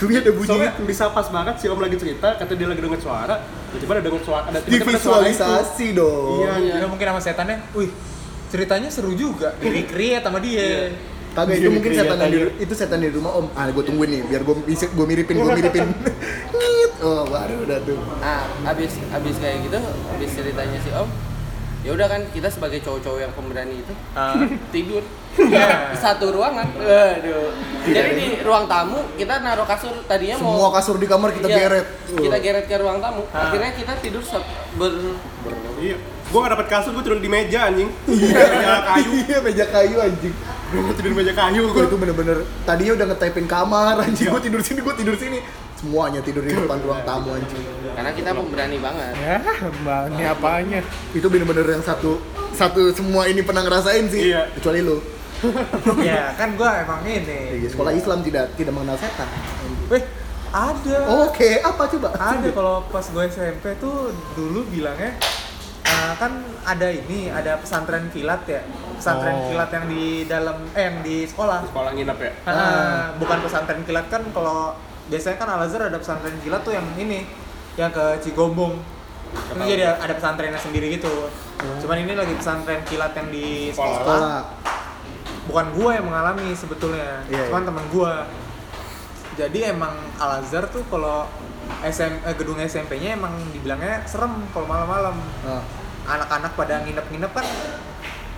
Tapi ada bunyi Soalnya itu bisa pas banget si Om lagi cerita, kata dia lagi denger suara, tiba-tiba ada denger suara, ada tiba-tiba ada suara itu. divisualisasi dong Iya. Iya. Gila mungkin sama setannya, wih ceritanya seru juga. Di create sama dia. kagak itu mungkin Iya, setan di iya. itu setan di rumah om ah gue tungguin nih biar gue gue miripin gue miripin Ngit. oh baru udah tuh nah abis abis kayak gitu abis ceritanya si om ya udah kan kita sebagai cowok-cowok yang pemberani itu Ah. tidur Iya. (laughs) satu ruangan aduh jadi di ruang tamu kita naruh kasur tadinya semua mau kasur di kamar kita Iya, geret Kita geret ke ruang tamu. Ah. Akhirnya kita tidur se- ber Iya. Gua gak dapet kasur, gua turun di meja anjing. meja kayu. (laughs) Iya, meja kayu anjing. (laughs) Gua tidur di meja kayu Gua gua. itu bener-bener tadinya udah ngetepin kamar anjing. Gua tidur sini, gua tidur sini. Semuanya tidur di depan ruang tamu anjing. Karena kita pemberani banget. Ya, mbak, ini apanya? Itu bener-bener yang satu satu semua ini pernah ngerasain sih. Iya. Kecuali lu. ya kan gua emang ini Iya, Sekolah Islam tidak tidak mengenal setan. weh ada Oke, apa coba? ada kalau pas gue SMP tuh dulu bilangnya eh, kan ada ini ada pesantren kilat ya pesantren Oh. kilat yang di dalam eh yang di sekolah Sekolah nginep ya. Ah, bukan pesantren kilat kan kalau biasanya kan Al Azhar ada pesantren kilat tuh yang ini yang ke Cigombong itu jadi ada pesantrennya sendiri gitu cuman ini lagi pesantren kilat yang di Sekolah. sekolah, Hmm. Sekolah. bukan gua yang mengalami sebetulnya Iya, cuman iya. temen gua jadi emang Al Azhar tuh kalau SM, eh, gedung SMP-nya emang dibilangnya serem kalau malam-malam Ah. anak-anak pada nginep-nginep kan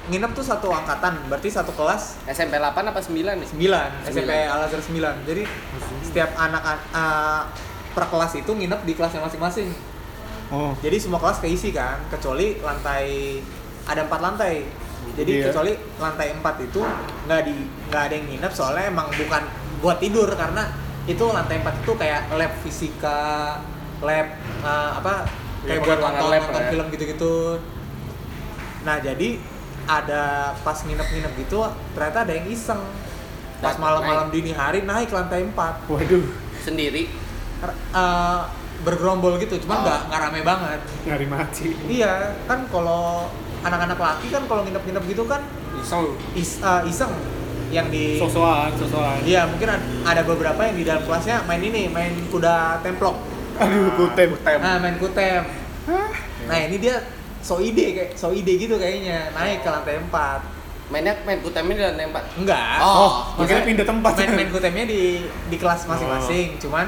nginep tuh satu angkatan berarti satu kelas SMP 8 apa 9 nih? 9 SMP Sembilan. Al Azhar 9 jadi setiap anak eh, per kelas itu nginep di kelasnya masing-masing Oh, jadi semua kelas keisi kan kecuali lantai ada empat lantai jadi Iya. kecuali lantai 4 itu nggak di nggak ada yang nginep soalnya emang bukan buat tidur karena itu lantai 4 itu kayak lab fisika lab eh, apa Iya, kayak buat pengembangan nonton, lab lah nonton ya. film gitu-gitu nah jadi ada pas nginep-nginep gitu ternyata ada yang iseng pas Naik. malam-malam dini hari naik lantai 4 waduh, Sendiri. eh, bergerombol gitu cuman nggak nggak rame banget nyari mati. Iya, kan kalau anak-anak laki kan kalau nginep-nginep gitu kan Iseng. is, eh, iseng yang di Sosokan, sosokan. Iya, mungkin ad- ada beberapa yang di dalam kelasnya main ini, main kuda templok. Aduh, kutem. Kutem. Nah, main kutem. Nah, ini dia so ide kayak so ide gitu kayaknya. Naik ke lantai 4. Mainnya main kutemnya di lantai 4. Enggak. Oh, Makanya Maksudnya pindah tempat. Oh. Main, main kutemnya di di kelas masing-masing, cuman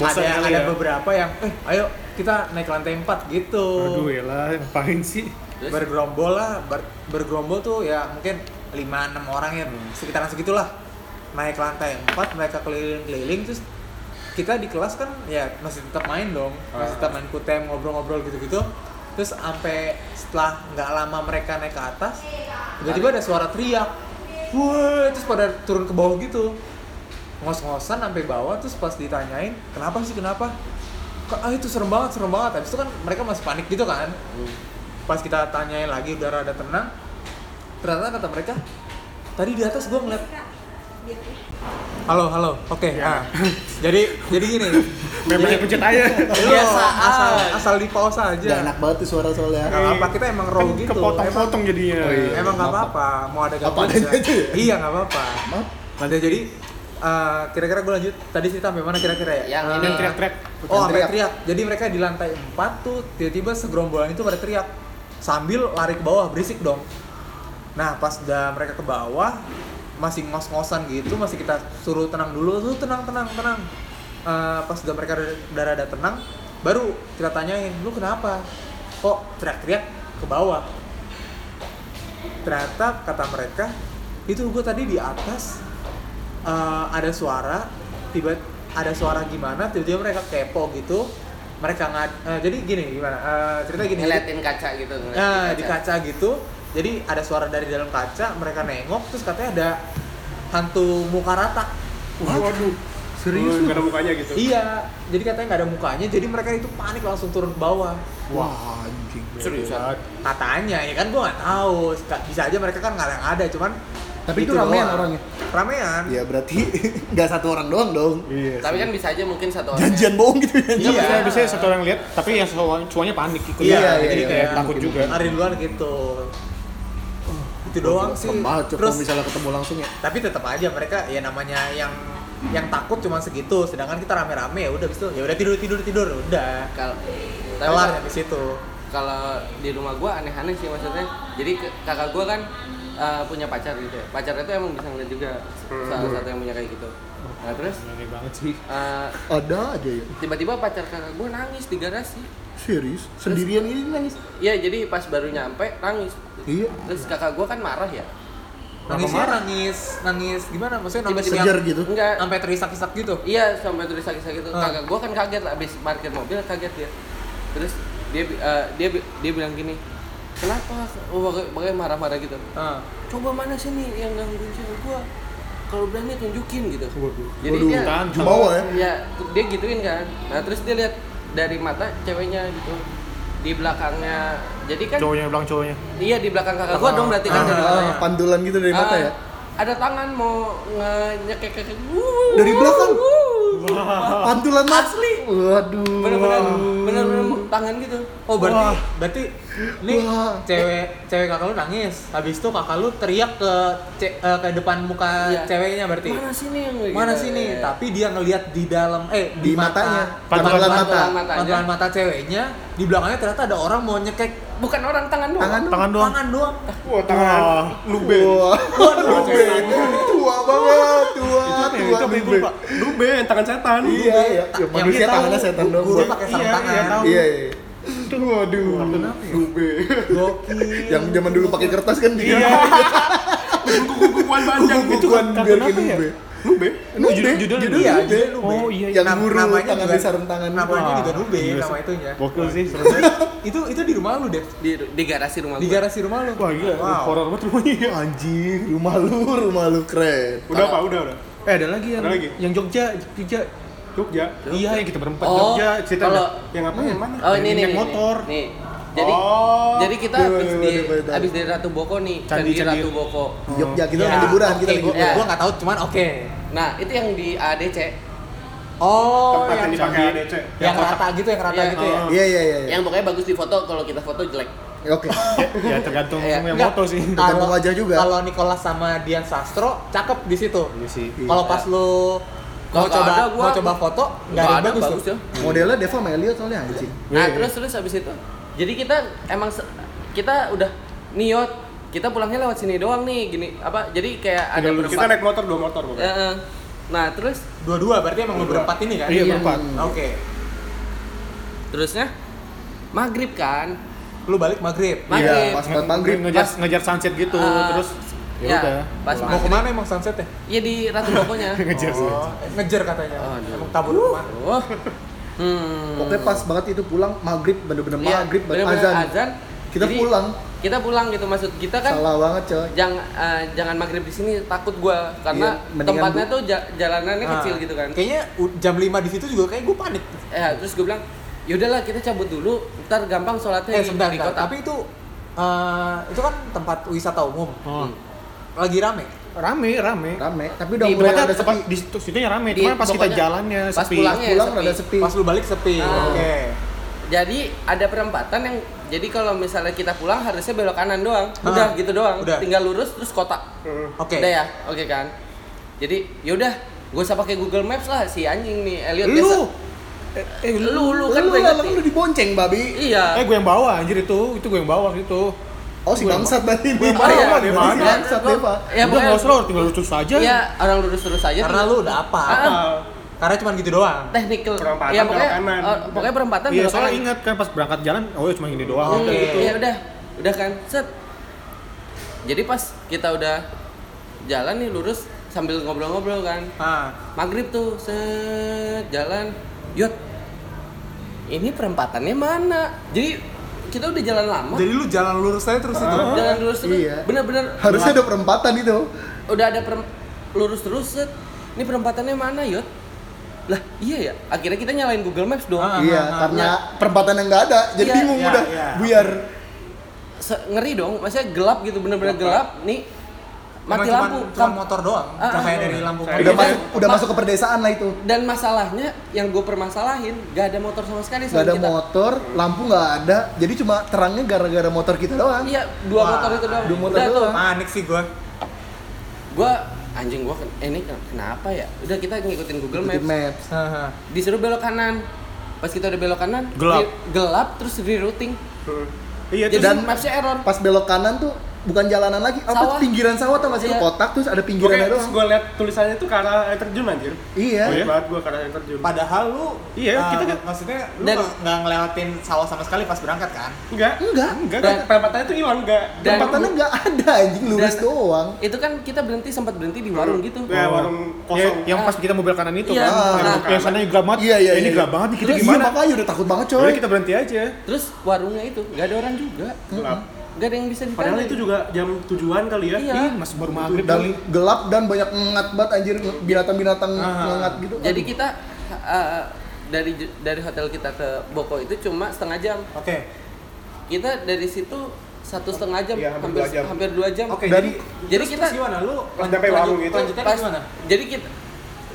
Bosan ada kali ada ya. beberapa yang eh ayo kita naik ke lantai 4 gitu. Aduh, ya lah, ngapain sih? Terus? bergerombol lah ber- bergerombol tuh ya mungkin 5 6 orang ya sekitaran segitulah naik ke lantai 4 mereka keliling-keliling terus kita di kelas kan ya masih tetap main dong masih tetap main kutem ngobrol-ngobrol gitu-gitu terus sampai setelah nggak lama mereka naik ke atas tiba-tiba ada suara teriak wah terus pada turun ke bawah gitu ngos-ngosan sampai bawah terus pas ditanyain kenapa sih kenapa Kok, ah itu serem banget serem banget habis itu kan mereka masih panik gitu kan pas kita tanyain lagi udah rada tenang ternyata kata mereka tadi di atas gua ngeliat halo halo oke ah. jadi jadi gini Memangnya pencet aja. biasa asal asal di pause aja Gak enak banget tuh suara soalnya. Nggak apa kita emang raw Kan gitu emang Kepotong-potong jadinya. Oh, iya. emang nggak Nggak apa-apa mau ada Apa gangguan adanya bisa. aja ya? iya nggak apa-apa Maaf. nanti jadi eh, kira-kira gue lanjut tadi cerita sampai mana kira-kira ya Yang Eh, ini Yang teriak-teriak. Oh, Bukan sampai teriak. teriak. Jadi mereka di lantai 4 tuh tiba-tiba segerombolan itu pada teriak sambil lari ke bawah berisik dong. Nah, pas udah mereka ke bawah masih ngos-ngosan gitu, masih kita suruh tenang dulu, tuh tenang tenang tenang. Eh, pas udah mereka udah- udah rada tenang, baru kita tanyain, "Lu kenapa? Kok teriak-teriak ke bawah?" Ternyata kata mereka, "Itu gue tadi di atas eh, ada suara tiba ada suara gimana tiba-tiba mereka kepo gitu mereka ngad eh, jadi gini gimana eh, cerita gini ngeliatin kaca gitu. ngeliatin Nah, di kaca gitu jadi ada suara dari dalam kaca mereka nengok terus katanya ada hantu muka rata Waduh. Serius? Gak ada mukanya gitu. iya jadi katanya nggak ada mukanya jadi mereka itu panik langsung turun ke bawah Wah, anjing. Seriusan. katanya ya kan gua nggak tahu Ska- bisa aja mereka kan nggak ada yang ada cuman Tapi itu gitu ramean doang. orangnya? ramean Ya berarti (laughs) nggak satu orang doang dong. Iya. Tapi kan bisa aja mungkin satu orang. Janjian bohong gitu Iya, ya. Iya. maksudnya bisa satu orang lihat, tapi yang cowok- cowoknya panik ikut. Iya, Jadi iya, kayak iya. takut Mungkin. juga. hari duluan gitu itu doang sih Oh, Serem banget, Cok, terus kalau misalnya ketemu langsung ya. tapi tetap aja mereka ya namanya yang yang takut cuma segitu sedangkan kita rame-rame ya udah habis itu ya udah tidur tidur tidur udah Kalau tapi kelar kalau- habis itu kalau di rumah gua aneh-aneh sih maksudnya. Jadi ke- kakak gua kan eh, punya pacar gitu ya. Pacarnya tuh emang bisa ngeliat juga salah satu yang punya kayak gitu. Nah, terus Aneh banget sih. eh, Ada aja ya. tiba-tiba pacar kakak gua nangis di garasi. Serius? Sendirian ini nangis. Iya, jadi pas baru nyampe nangis. Iya. Terus kakak gua kan marah ya. nangis nangis nangis gimana maksudnya nangis Tiba-tiba- Sejar yang gitu. Enggak, sampai terisak-isak gitu Iya sampai terus sakit-sakit tuh. Ah. Kakak gua kan kaget lah abis parkir mobil kaget dia. Terus dia bi- eh, dia bi- dia bilang gini, kenapa pakai marah-marah gitu Ah. coba mana sih nih yang gangguin cewek gua kalau berani tunjukin gitu jadi Waduh, dia tahan. Jumawa ya. ya dia gituin kan nah terus dia lihat dari mata ceweknya gitu di belakangnya jadi kan Cowoknya bilang cowoknya. iya di belakang kakak gua dong berarti kan dari Ah, matanya. pantulan gitu dari mata Ah, ya. ada tangan mau nyekek kekek Dari belakang? Pantulan asli. Waduh. bener-bener bener-bener tangan gitu Oh berarti Wah. berarti ini Wah. cewek cewek kakak lu nangis. Habis itu kakak lu teriak ke ce- eh, ke depan muka Iya. ceweknya berarti. mana Iya, sini yang gitu? Mana sih nih? Tapi dia ngelihat di dalam eh di, Di matanya. mata Pantulan mata. mata. Matanya. pantulan mata ceweknya di belakangnya ternyata ada orang mau nyekek bukan orang tangan doang Tangan Tangan doang. tangan doang. Wah, tangan. Luben. Waduh. Luben. Tua banget. Tua. Eh, Tua. itu bego, Luben. Pak. Lu Ben, tangan setan. Iya, iya. Ya, Yang manusia dia tahu, tangannya setan doang. Guru Bang. pakai sarung Iya, tangan. iya, tahu. Iya, iya. Tuh, waduh. Luben. Yang zaman dulu pakai kertas kan dia. Iya, Kukuan panjang gitu. Bukan Kenapa biar ke ya? Lube. Lu Ben. Lube. judulnya Judul Iya, kan. Lube. jadi lu Oh, iya, iya. Yang guru tangan di sarung tangan. Namanya juga Nube gila nama sih. itunya. Gokil sih, seru. itu itu di rumah lu, Dev. di, di garasi rumah Di gua. garasi rumah lu. Wah, iya. gila. Wow. Horor banget rumahnya. Wah, Anjing, rumah lu, rumah lu keren. Udah Pak, udah, udah. Eh, ada lagi yang Ada lagi? ya. yang Jogja, Jogja. Jogja. Iya, yang kita berempat Oh, Jogja, cerita kalau ada- Yang apa? Hmm. Yang Ya, mana? Oh ini Yang nih. naik nih, motor. Nih. Jadi Oh. jadi kita Waduh, habis waduh, di waduh, waduh. habis dari Ratu Boko nih, candi, Candi- candi. Ratu Boko. Jogja kita Ya, lagi liburan, oke, kita lagi gua- liburan. Gua nggak tahu cuman oke. Nah, itu yang di ADC. Oh, Tempat yang yang, dipakai ADC. yang rata gitu, yang rata Iya. gitu ya. Iya, iya, iya. iya. Yang pokoknya bagus di foto, kalau kita foto jelek. Oke. Ya tergantung Iya. yang Enggak. moto sih. Tergantung wajah juga. Kalau Nicholas sama Dian Sastro cakep di situ. Iya sih. Kalau pas lu mau Nggak coba ada gua. mau coba foto nggak ada yang bagus, tuh. ya. Modelnya Deva sama Elliot soalnya anjing. Nah, Iya. terus terus habis itu. Jadi kita emang se- kita udah niat kita pulangnya lewat sini doang nih, gini apa? Jadi kayak ada Tinggal berempat. Kita naik motor dua motor Eh, pokoknya. eh. Nah, terus Dua-dua berarti emang lu berempat ini kan? Iya, Iya. berempat. Oke. terusnya maghrib kan? Lu balik maghrib. Maghrib. pas banget maghrib. ngejar Pas- ngejar sunset gitu, Ah, terus ya udah. Pas Mau maghrib. kemana emang sunsetnya? Iya di Ratu Bokonya. Ngejar sunset. Oh, ngejar katanya. Aduh. Emang kabur rumah. Oh. Hmm. Pokoknya pas banget itu pulang maghrib bener-bener Iya, maghrib banget bener-bener azan. Kita Jadi, pulang. Kita pulang gitu maksud kita kan Salah banget coy. jangan eh, jangan maghrib di sini takut gua karena Iya, mendingan tempatnya bu- tuh ja- jalanannya Ah. kecil gitu kan. Kayaknya u- jam 5 di situ juga kayak gue panik. Eh terus gua bilang yaudahlah kita cabut dulu ntar gampang sholatnya Eh Iya, di, sebentar, di sebentar. kota. tapi itu eh, itu kan tempat wisata umum. Oh. Hmm. Lagi rame. Rame, rame. Rame, tapi udah Di mulai Tempatnya ada tempat sepi. di situ situnya rame, Di- cuman pas kita pokoknya jalannya pas sepi. pulang- Pulang Iya, ada sepi. sepi. Iya. Pas lu balik sepi. Ah. Oke. Jadi ada perempatan yang jadi kalau misalnya kita pulang harusnya belok kanan doang. Udah Ah. gitu doang. Udah. Tinggal lurus terus kota. Oke. Udah ya? Oke kan. Jadi yaudah gua usah pakai Google Maps lah si anjing nih Elliot Lu. Eh, eh, Biasa, lu lu Kan kan lu gue lalang lu ingetin. dibonceng, babi. Iya. Eh gue yang bawa anjir itu, itu gue yang bawa gitu. Oh, si bangsat tadi. Di Oh, iya. mana? Di Mana? bangsat Deva. Ya, udah pokoknya- enggak usah lo tinggal lucu saja. Iya, orang lurus lurus aja. Karena lu udah apa? Iya, Ah. Karena cuma gitu doang. teknikal. Perempatan ya, pokoknya, belok kanan. oh, pokoknya perempatan. Iya, belok soalnya kanan. ingat kan pas berangkat jalan, oh ya cuma ini doang. Oke. Ya udah, udah kan. Set. Jadi pas kita udah jalan nih lurus sambil ngobrol-ngobrol kan. Ah. Maghrib tuh set jalan. Yot. Ini perempatannya mana? Jadi kita udah jalan lama. Jadi lu jalan lurus aja terus itu. jalan lurus terus. Iya. Bener-bener Harusnya ada perempatan itu. udah ada perem- lurus terus set. Ini perempatannya mana, Yot? Lah, iya ya. Akhirnya kita nyalain Google Maps dong. Ah. Iya, karena perempatan yang nggak ada, jadi Iya. bingung Iya, udah iya. buyar. Se- ngeri dong, maksudnya gelap gitu bener-bener gelap, nih Emang mati lampu Cuma, cuma Kam- motor doang. Ah, Cahaya ah. dari lampu. Cahaya. Udah Iya. masuk, udah masuk ke perdesaan lah itu. dan masalahnya yang gue permasalahin gak ada motor sama sekali Gak ada kita. motor, lampu nggak ada, jadi cuma terangnya gara-gara motor kita doang. iya dua Wah, motor itu doang dua motor udah doang. Panik sih gua. gue anjing gue ini ken- kenapa ya udah kita ngikutin Google Ikutin Maps Maps. Haha. disuruh belok kanan pas kita udah belok kanan Gelap. di- gelap terus rerouting Ya, Iya, jadi dan- mapsnya error Pas belok kanan tuh bukan jalanan lagi, apa Sawah. pinggiran sawah tuh masih Iya. kotak terus ada Oke, pinggirannya doang. terus gue liat tulisannya tuh ke arah air terjun anjir. Iya. Ya. Oh, iya? Banyak banget gue ke arah air terjun. Padahal lu Iya, ah, kita kan- maksudnya lu Dan- nggak- nggak ngelewatin sawah sama sekali pas berangkat kan? Enggak. Enggak. Enggak, Dan- perempatannya tuh hilang enggak. Nah. Dan- Tempatannya nggak ada anjing lurus Dan- doang. itu kan kita berhenti sempat berhenti di warung gitu Ya, warung kosong. Ya, yang pas kita mobil kanan itu Iya. kan, yang Nah. yang sananya gelap banget. Iya, iya, Eh, Ini iya. gelap banget nih, kita Terus, iya gimana? makanya udah takut banget coy. Udah kita berhenti aja. terus warungnya itu gak ada orang juga gelap. gak ada yang bisa ditanya Padahal itu juga jam tujuan kali ya. Iya. Ih, masih baru maghrib dan kali. gelap dan banyak mengat banget anjir binatang-binatang mengat gitu jadi kita uh, dari dari hotel kita ke Boko itu cuma setengah jam Oke. kita dari situ satu setengah jam, Iya, hampir hampir dua jam. hampir dua jam. Oke, Dan- jadi jadi terus- kita- terus gimana lu? Pas nyampe warung gitu. Lanjutnya Pas- gimana? Jadi kita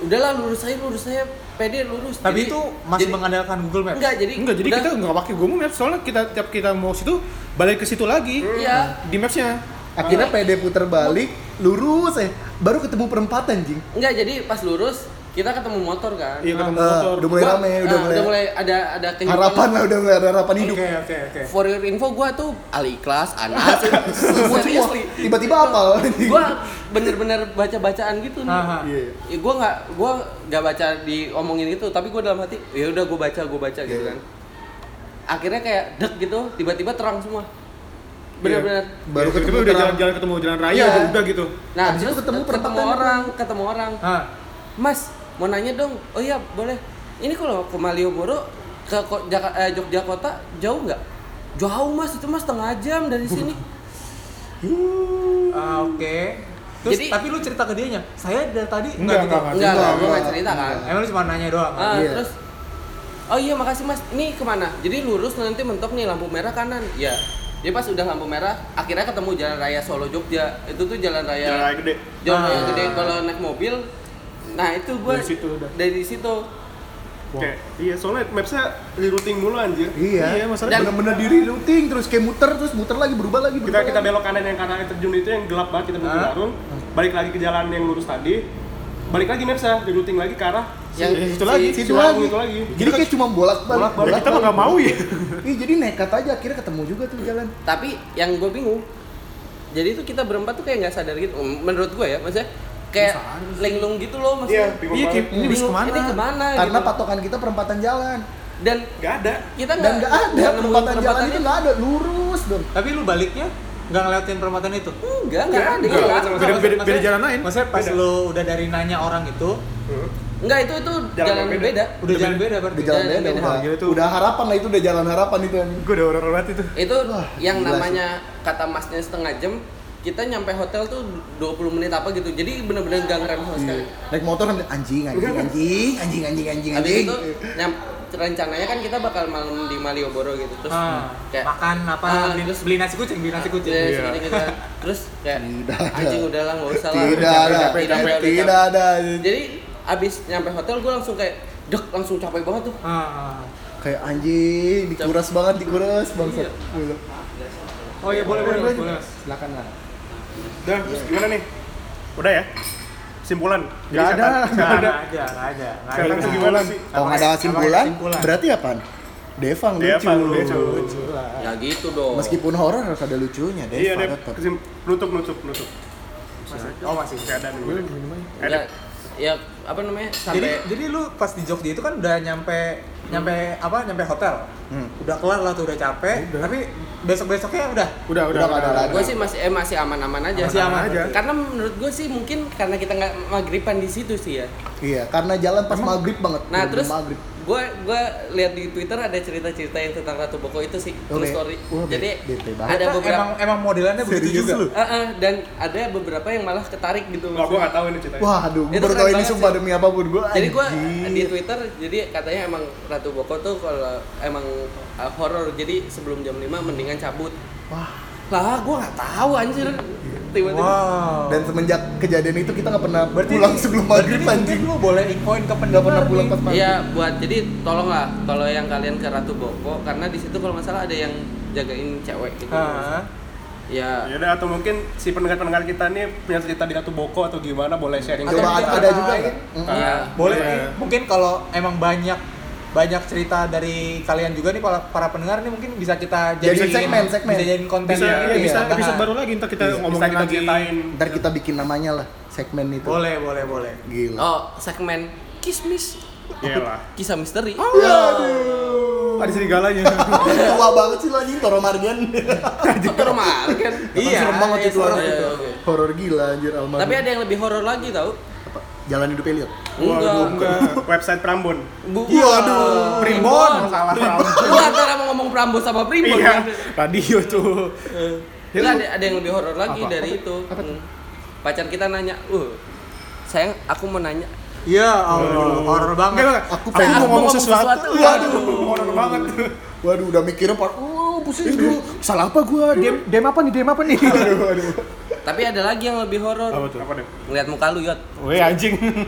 udahlah lurus aja lurus saya pede lurus. Tapi Jadi- itu masih ya? jadi- mengandalkan Google Maps. enggak jadi Enggak, jadi udah- kita nggak pakai Google Maps soalnya kita tiap kita mau situ balik ke situ lagi Iya. di mapsnya. akhirnya PD puter balik lurus eh baru ketemu perempatan jing enggak jadi pas lurus kita ketemu motor kan. Iya ketemu Eh, motor. udah mulai Gua- rame udah ah, mulai, ada ada kehidupan. harapan lah udah mulai ada harapan hidup Oke, oke, oke. For your info gua tuh ahli kelas, (laughs) anak, Semua- semua. Tiba-tiba apal. Gua bener-bener baca-bacaan gitu nih. Aha. Iya. ya gue nggak gue nggak baca diomongin itu tapi gue dalam hati ya udah gue baca gue baca gitu Iya. kan akhirnya kayak dek gitu tiba-tiba terang semua Iya. benar-benar baru Tapi ketemu udah terang. jalan-jalan ketemu jalan raya Iya. udah, udah gitu. nah Habis itu terus ketemu ketemu, perempatan. orang ketemu orang Hah. mas mau nanya dong oh iya boleh ini kalau ke Malioboro ke Ko- Jaka- eh, Jogja kota jauh nggak jauh mas itu mas setengah jam dari sini Ah, oke. Terus Jadi- tapi lu cerita ke dianya, saya dari tadi gitu." Enggak, enggak, enggak. enggak enggak gue nggak enggak, cerita kan Emang lu cuma nanya doang. Ah, Iya. terus oh iya makasih mas ini kemana jadi lurus nanti mentok nih lampu merah kanan ya dia pas udah lampu merah akhirnya ketemu jalan raya Solo Jogja itu tuh jalan raya Jalan raya gede. jalan raya Ah. gede kalau naik mobil nah itu gue Dari situ udah. dari situ Kayak- Iya, soalnya mapsnya rerouting mulu anjir. Iya. Iya, masalahnya Dan- bener-bener diri routing terus kayak muter terus muter lagi berubah lagi kita berubah kita lagi. belok kanan yang kanan air terjun itu yang gelap banget kita menuju Hah? warung balik lagi ke jalan yang lurus tadi balik lagi mapsnya rerouting lagi ke arah yang eh, itu lagi, situ si lagi. warung itu lagi Jadi kayak cuma bolak-balik. Bolak-balik. Kita mah nggak mau ya. Ih, jadi nekat aja akhirnya ketemu juga tuh jalan. tapi yang gue bingung jadi itu kita berempat tuh kayak nggak sadar gitu menurut gue ya maksudnya kayak linglung gitu loh maksudnya Iya, bingung Iya, banget. Kim. Ini habis Bingung, kemana? ini kemana Karena gitu. Iya, patokan kita perempatan jalan. dan Nggak ada. kita Dan nggak nggak ada nggak nemuin perempatan jalan itu perempatannya. nggak ada lurus dong. Tapi lu baliknya nggak ngeliatin perempatan itu? enggak enggak ada Enggak, nggak ada. Beda- beda- beda jalan lain. Maksudnya pas Beda. lu udah dari nanya orang itu, Enggak itu itu Jalan jalan, yang beda. beda. udah jalan beda berarti. Udah jalan Jalan beda beda. udah. Wah, gila tuh. Udah harapan lah itu udah jalan harapan itu. Gue udah orang banget itu. Itu Wah, yang gila sih. namanya kata masnya setengah jam, kita nyampe hotel tuh 20 menit apa gitu. Jadi bener-bener gak ngerem sama sekali. Naik motor sambil anjing anjing anjing anjing anjing anjing Habis anjing. itu nyam- rencananya kan kita bakal malam di Malioboro gitu. Terus Ah, kayak makan apa? Ah, beli, terus- beli nasi kucing, beli nasi kucing. ya, segini gitu. Terus kayak Iya. Tidak ada. anjing udahlah nggak usah lah. Tidak Udah ada, capek, udah capek, udah tidak capek. ada. Jadi abis nyampe hotel gue langsung kayak dek langsung capek banget tuh. Ah. Kayak anjing, dikuras banget, dikuras Iya. bangsat. Oh iya boleh boleh boleh. boleh. Silakan lah. Udah, terus gimana nih? Udah ya? Simpulan. Nggak ada, nggak Nggak ada, nggak ada, nggak Setan ada. tuh gimana sih? Kalau nggak ada kesimpulan, kesimpulan? berarti apaan? Devang Iya, lucu. Devang lucu. Ah. Ya gitu dong. Meskipun horor harus ada lucunya, Devang Iya, deh. tetap. Kesim- Nutup, nutup, nutup. Oh masih. Keadaan gue. ya, ya apa namanya Jadi sampai jadi lu pas di Jogja itu kan udah nyampe nyampe apa nyampe hotel. Hmm. Udah kelar lah tuh udah capek. Tapi besok besoknya udah. Udah, udah, nggak ada lagi. gue sih masih eh, masih aman-aman aja Masih aman aja. karena menurut gue sih mungkin karena kita nggak magriban di situ sih ya Iya, karena jalan pas maghrib banget. nah Belum terus maghrib. gue gue lihat di twitter ada cerita-cerita yang tentang ratu boko itu sih Oke. terus story Wah, be- jadi bete banget. ada beberapa Emang emang modelannya begitu Serius juga. lu? Eh, eh, dan ada beberapa yang malah ketarik gitu Nggak, gue nggak tahu ini ceritanya. Wah, aduh, gua Itu baru keren tahu ini kan banget sumpah sih. demi apapun gua. jadi gue anjing. di twitter jadi katanya emang ratu boko tuh kalau emang eh, horor jadi sebelum jam 5 mendingan cabut Wah. lah gue nggak tahu anjir tiba-tiba Wow. Dan semenjak kejadian itu kita nggak pernah Berarti pulang sebelum berarti maghrib ini anjing. Mungkin lu boleh infoin ke Nggak pendengar pernah pulang nih. pas maghrib. Iya, buat jadi tolonglah kalau yang kalian ke Ratu Boko karena di situ kalau nggak salah ada yang jagain cewek gitu. Ah. Ya. Yaudah, atau mungkin si pendengar-pendengar kita nih punya cerita di Ratu Boko atau gimana boleh sharing Atau Coba ada, mungkin ada orang juga lain. nggak? Mm-mm. Iya. Boleh Iya. nih. Mungkin kalau emang banyak banyak cerita dari kalian juga nih para, para pendengar nih mungkin bisa kita Jadi jadiin- segmen, segmen. bisa jadiin konten bisa gitu iya, ya, bisa tambahan. episode baru lagi ntar kita Bisa, ngomongin kita lagi ceritain. Ntar kita bikin namanya lah segmen itu. boleh boleh boleh Gila. Oh, segmen kismis iyalah kisah misteri. Oh, Waduh. ada serigalanya Tua banget sih lo anjing Toro Mardian. normal Iya, kan. Iya, Serem banget iya, itu orang serem. itu. Iya, iya. (laughs) Horor gila anjir almarhum. Tapi ada yang lebih horor lagi tau? Apa? Jalan hidup Elliot. (laughs) waduh Enggak. website Prambon Bu- Iya, aduh. Primbon salah Prambon (laughs) Lu antara mau ngomong Prambos sama Primbon. iya kan? radio tuh Ya, Nggak, ya? lu- ada, ada yang lebih horor lagi Apa? dari itu. Hmm. Pacar kita nanya, "Uh, sayang, aku mau nanya." Iya, Allah, horor banget. Enggak, enggak. Aku Aku pengen mau ngomong sesuatu. Waduh. horor banget. Waduh, udah mikirnya par, oh pusing dulu. Salah apa gua? Dem, dem apa nih? Dem apa nih? Aduh, aduh. Tapi ada lagi yang lebih horor. tuh? Apa deh? Ngeliat muka lu, Yot. Weh anjing.